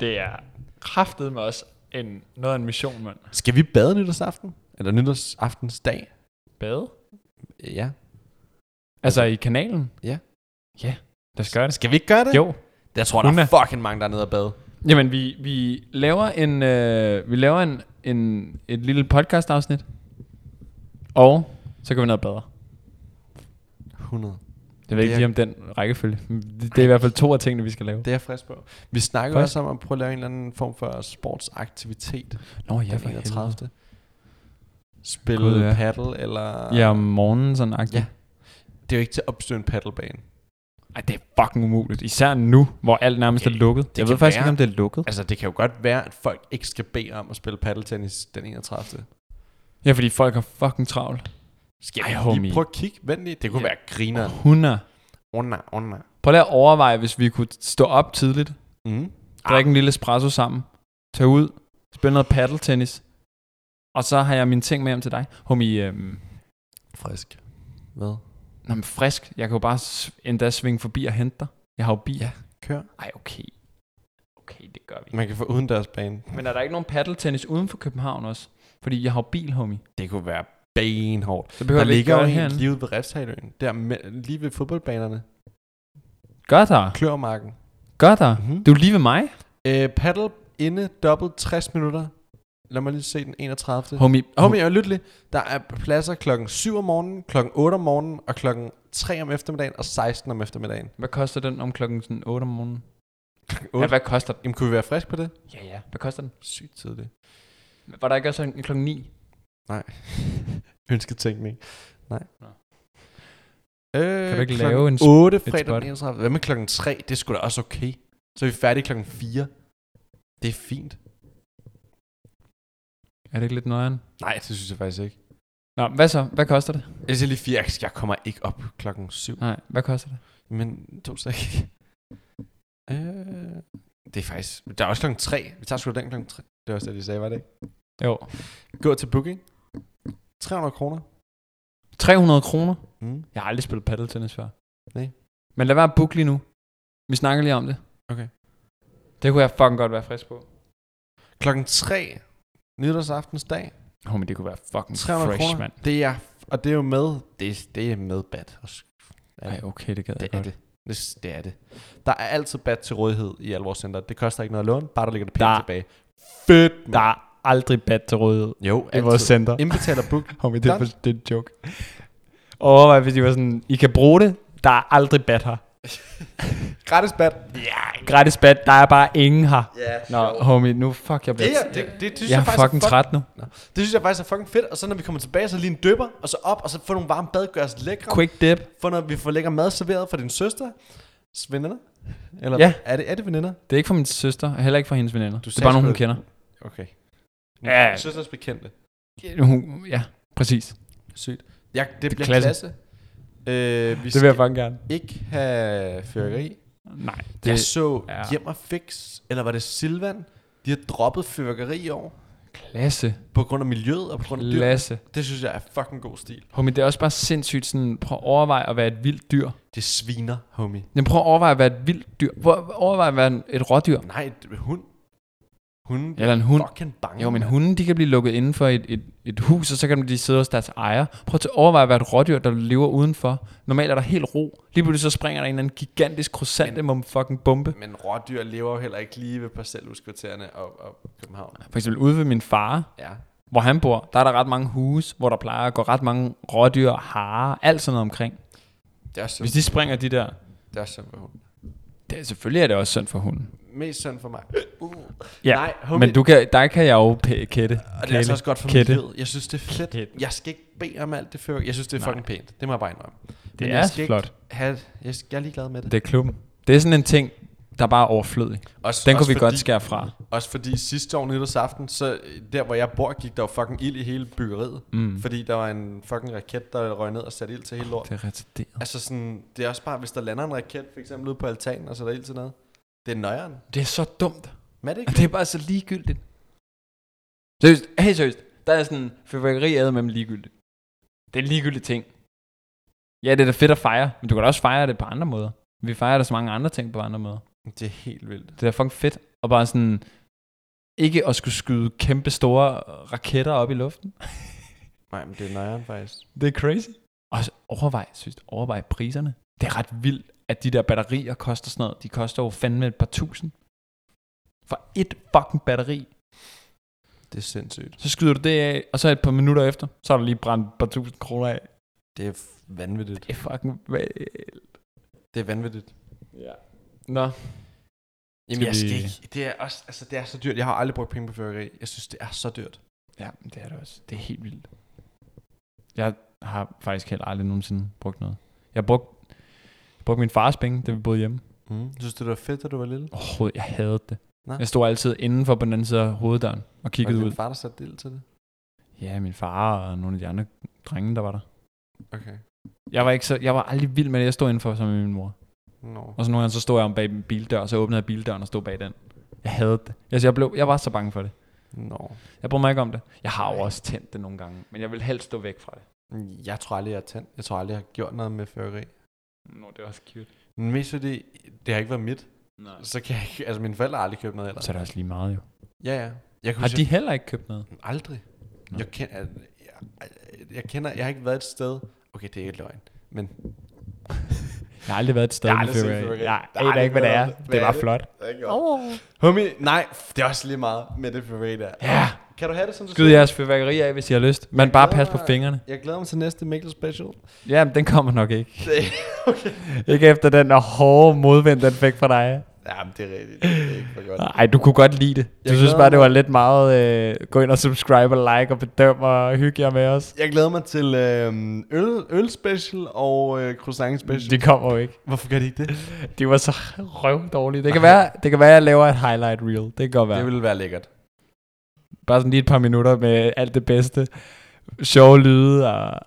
Det er kraftet med os en, noget af en mission, mand.
Skal vi bade nytårsaften? Eller nytårsaftens dag?
Bade?
Ja.
Altså i kanalen?
Ja.
Ja, lad os gøre det.
Skal vi ikke gøre det?
Jo.
Jeg tror, der
Hun
er
er-
fucking mange, der er nede og bade.
Jamen, vi, vi laver en, øh, vi laver en, en, et lille podcast-afsnit, og så går vi ned og bader.
100.
Jeg ved
Det
ikke
er-
lige om den rækkefølge. men Det, det er i hvert fald to af tingene, vi skal lave.
Det er jeg frisk på. Vi snakker jo
Frisk.
også om at prøve at lave en eller anden form for sportsaktivitet.
Nå, ja,
den
for
31.
helvede.
Spille
Gud, ja.
paddle, eller...
Ja, om morgenen sådan agtigt.
Ja. Det er jo ikke til at opstøde en paddlebane.
Ej, det er fucking umuligt. Især nu, hvor alt nærmest er lukket. Jeg
kan
ved faktisk
være-
ikke, om det er lukket.
Altså, det kan jo godt være, at folk ikke skal bede om at spille paddeltennis den 31.
Ja, fordi folk har fucking travlt.
Skal
Ej,
vi
homie.
lige prøve at kigge? Vent lige. Det kunne være griner.
100.
Under, under.
Prøv lige at overveje, hvis vi kunne stå op tidligt,
Mm.
drikke en lille espresso sammen, tage ud, spille noget paddeltennis, og så har jeg mine ting med hjem til dig. Homie, øhm,
Frisk. Hvad?
nå, men frisk. Jeg kan jo bare s- endda svinge forbi og hente dig. Jeg har jo bil.
Ja. Kør.
Ej, okay. Okay, det gør vi.
Man kan få udendørsbane.
Men er der ikke nogen paddeltennis uden for København også? Fordi jeg har jo bil, homie.
Det kunne være benhårdt.
Så
Der
behøver vi ikke
ligger jo
gøre det
en
herinde.
lige ude ved Refshaløen. Der med, lige ved fodboldbanerne.
Gør der.
Kløvermarken.
Gør der.
Mhm.
Ah. Du er lige ved mig.
Øh, paddle inde, dobbelt 60 minutter. Lad mig lige se den 31.
Homie,
Homie, jeg lyt lige. Der er pladser klokken 7 om morgenen, klokken 8 om morgenen, og klokken 3 om eftermiddagen, og 16 om eftermiddagen.
Hvad koster den om klokken sådan 8 om morgenen?
otte?
Ja, hvad koster den?
Jamen, kunne vi være frisk på det?
Ja, ja. Hvad koster den?
Sygt tidligt.
Var der ikke også en klokken 9?
Nej. Ønsketænkning. Nej.
Nå.
Øh,
Kan du ikke
klokken
lave en sp-
8
et
fredag
spot?
den 31. Hvad med klokken 3? Det skulle da også okay. Så er vi færdige klokken 4. Det er fint.
Er det ikke lidt nøjeren?
Nej, det synes jeg faktisk ikke.
Nå, hvad så? Hvad koster det?
Jeg siger lige 4. Jeg kommer ikke op klokken 7.
Nej, hvad koster det?
Men to sek. Øh, det er faktisk... Der er også klokken 3. Vi tager sgu da den klokken 3. Det var også det, de sagde, var det ikke?
Jo.
Gå til booking. 300 kroner.
300 kroner?
Mm.
Jeg har aldrig spillet paddeltennis før.
Nej.
Men lad være at booke lige nu. Vi snakker lige om det.
Okay.
Det kunne jeg fucking godt være frisk på.
Klokken 3. Nytårsaftens dag.
Homie, det kunne være fucking
300
fresh,
kroner.
mand.
Det er, og det er jo med. Det, det er med bat. Og sk- Ja,
Ej, okay, det gad
det
jeg
er
godt.
det. det. Det er det. Der er altid bat til rådighed i alle vores center. Det koster ikke noget at låne, bare der ligger det pænt
Der-
tilbage. Fedt,
Der er aldrig bad til rådighed
Jo,
i vores center.
Indbetaler book.
Homie,
det er for-
det er en joke. Overvej, hvis de var sådan, I kan bruge det, der er aldrig bad her.
Gratis bat.
Ja, gratis bad, der er bare ingen her.
Ja,
Nå, homie, nu fuck, jeg bliver...
Det, er- det, det, det synes
jeg
jeg,
er
faktisk
fucking
er fuck,
træt nu.
Nå. Det synes jeg faktisk er fucking fedt. Og så når vi kommer tilbage, så lige en døber, og så op, og så få nogle varme bad, gør os lækre.
Quick dip.
For når vi får lækker mad serveret fra din søster, veninder. Eller
Ja.
er, det, er det veninder?
Det er ikke fra min søster, og heller ikke fra hendes veninder. Du det er
sagde
bare nogen,
sgu
hun
da-
kender.
Okay.
Ja.
Søsters bekendte.
Hun, ja, præcis.
Sygt. Jeg, det, det bliver
klasse.
klasse. klasse. Øh, vi
Det vil jeg fucking gerne.
ikke have fyrværkeri.
Nej, det,
Det, jeg så
ja.
ja. Hjem og Fix, eller var det Silvan? De har droppet fyrværkeri i år,
klasse.
på grund af miljøet og på grund af dyr.
Klasse.
Det synes jeg er fucking god stil.
Homie, det er også bare sindssygt sådan, prøv at overveje at være et vildt dyr.
Det sviner, homie.
Men prøv at overveje at være et vildt dyr. Prøv at overveje at være en- et rådyr.
Nej, et- hund. Hunden
Eller en hund.
fucking bange.
Jo, men
mand.
hunden, de kan blive lukket inden for et, et, et hus, og så kan de sidde hos deres ejer. Prøv at overveje at være et rådyr, der lever udenfor. Normalt er der helt ro. Lige pludselig så springer der en eller anden gigantisk krysantemum fucking bombe.
Men rådyr lever jo heller ikke lige ved parcelhuskvartererne og, og København.
For eksempel ude ved min far,
Ja.
hvor han bor, der er der ret mange huse, hvor der plejer at gå ret mange rådyr, harer, alt sådan noget omkring.
Det er så,
Hvis de springer de der,
det er så for hun.
det, er- selvfølgelig er det også synd for hunden.
Mest synd for mig. Uh.
Ja,
Nej,
Nej,
homie.
men du kan, der kan jeg jo pæ- kætte.
Og det er altså også godt for mit
kætte.
liv. Jeg synes, det er fedt.
Kætte.
Jeg skal ikke bede om alt det før. Jeg synes, det er fucking pænt. Det må jeg bare indrømme. Det
er
jeg skal
flot.
Ikke have, jeg, jeg er ligeglad med det.
Det er klubben. Det er sådan en ting, der bare er overflødig.
Også-
Den
også
kunne vi godt
fordi-
skære fra.
Også fordi sidste år nytårsaften, så øh, der hvor jeg bor, gik der jo fucking ild i hele byggeriet. Mm. Fordi der var en fucking raket, der røg ned og satte ild til hele lort.
Det er retarderet.
Altså sådan, det er også bare, hvis der lander en raket, for eksempel ude på altanen, og så er der ild til noget. Det er nøjeren.
Det er så dumt.
Men er det ikke?
Og det er bare så ligegyldigt. Seriøst, helt seriøst. Der er sådan, fyrværkeri er med ligegyldigt. Det er en ligegyldig ting. Ja, det er da fedt at fejre, men du kan da også fejre det på andre måder. Vi fejrer da så mange andre ting på andre måder.
Det er helt vildt.
Det er da fucking fedt. Og bare sådan, ikke at skulle skyde kæmpe store raketter op i luften.
Nej, men det er nøjeren faktisk.
Det er crazy. Og så overvej, synes jeg, overvej priserne. Det er ret vildt, at de der batterier koster sådan noget. De koster jo fandme et par tusind. For et fucking batteri.
Det er sindssygt.
Så skyder du det af, og så et par minutter efter, så har du lige brændt et par tusind kroner af.
Det er f- vanvittigt.
Det er fucking vildt.
Det er vanvittigt.
Ja. Nå.
Jamen, jeg
vi-
skal ikke. Det er, også, altså, det er så dyrt. Jeg har aldrig brugt penge på fyrværkeri. Jeg synes, det er så dyrt.
Ja, men det er det også. Det er helt vildt. Jeg har faktisk heller aldrig nogensinde brugt noget. Jeg brugte, jeg brugte min fars penge, da vi boede hjemme.
Mm. Synes du, det var fedt, da du var lille?
Overhovedet, jeg havde det.
Nå.
Jeg stod altid indenfor på den anden side af hoveddøren og
Var det
kiggede ud.
din far, der satte ild til det?
Ja, min far og nogle af de andre drenge, der var der.
Okay.
Jeg var, ikke så, jeg var aldrig vild med det, jeg stod indenfor sammen med min mor.
No.
Og så nogle gange, så stod jeg om bag en bildør, og så åbnede jeg bildøren og stod bag den. Jeg havde det. Altså, jeg, blev, jeg var så bange for det.
No.
Jeg bryder mig ikke om det. Jeg har jo også tændt det nogle gange, men jeg vil helst stå væk fra det.
Jeg tror aldrig, jeg har tændt. Jeg tror aldrig, jeg har gjort noget med fyrværkeri.
Nå, det er også cute.
Men Mest fordi, det har ikke været mit.
Nej.
Så kan jeg ikke, altså mine forældre har aldrig købt noget ellers.
Så er det også lige meget jo.
Ja, ja. Jeg kan
Har
huske,
de heller ikke købt noget?
jeg- aldrig. Jeg, kender, jeg, jeg, jeg kender, jeg har ikke været et sted. Okay, det er ikke løgn. Men
Jeg har aldrig været et sted
Jeg har
med
aldrig set
fyrværkeri.
fyrværkeri.
Jeg
Jeg har
aner ikke, hvad det
aldrig
er.
været om det.
Det
Hvad
var
er det?
flot.
homie, nej, f- det er også lige meget med det fyrværkeri der.
Ja,
Kan du have det, som du
skyd jeres fyrværkeri af, hvis I har lyst. Men bare pas på fingrene.
Jeg glæder mig til næste Mikkel Special.
Jamen, den kommer nok ikke.
Det- okay.
Ikke efter den hårde modvind, den fik fra dig.
Jamen, det er rigtigt. Det er ikke for godt.
Nej, du kunne godt lide det. Du
Jeg
synes
glæder
bare, det
mig.
var lidt meget øh, gå ind og subscribe og like og bedøm og hygge jer med os.
Jeg glæder mig til øhm, øl, øl special og øh, croissant special.
Det kommer jo ikke.
Hvorfor gør de ikke det?
Det var så røv dårligt. Det kan, være, det kan være, jeg laver et highlight reel. Det kan godt være.
Det ville være lækkert.
Bare sådan lige et par minutter med alt det bedste. Sjove lyde og...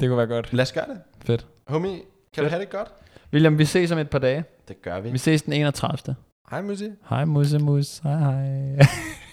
Det kunne være godt.
Lad os gøre det.
Fedt.
Homie, kan du
Fedt.
have det godt?
William, vi ses om et par dage.
Det gør
Vi ses den 31.
Hej, Musi.
Hej, musse, mus. Hej, hej.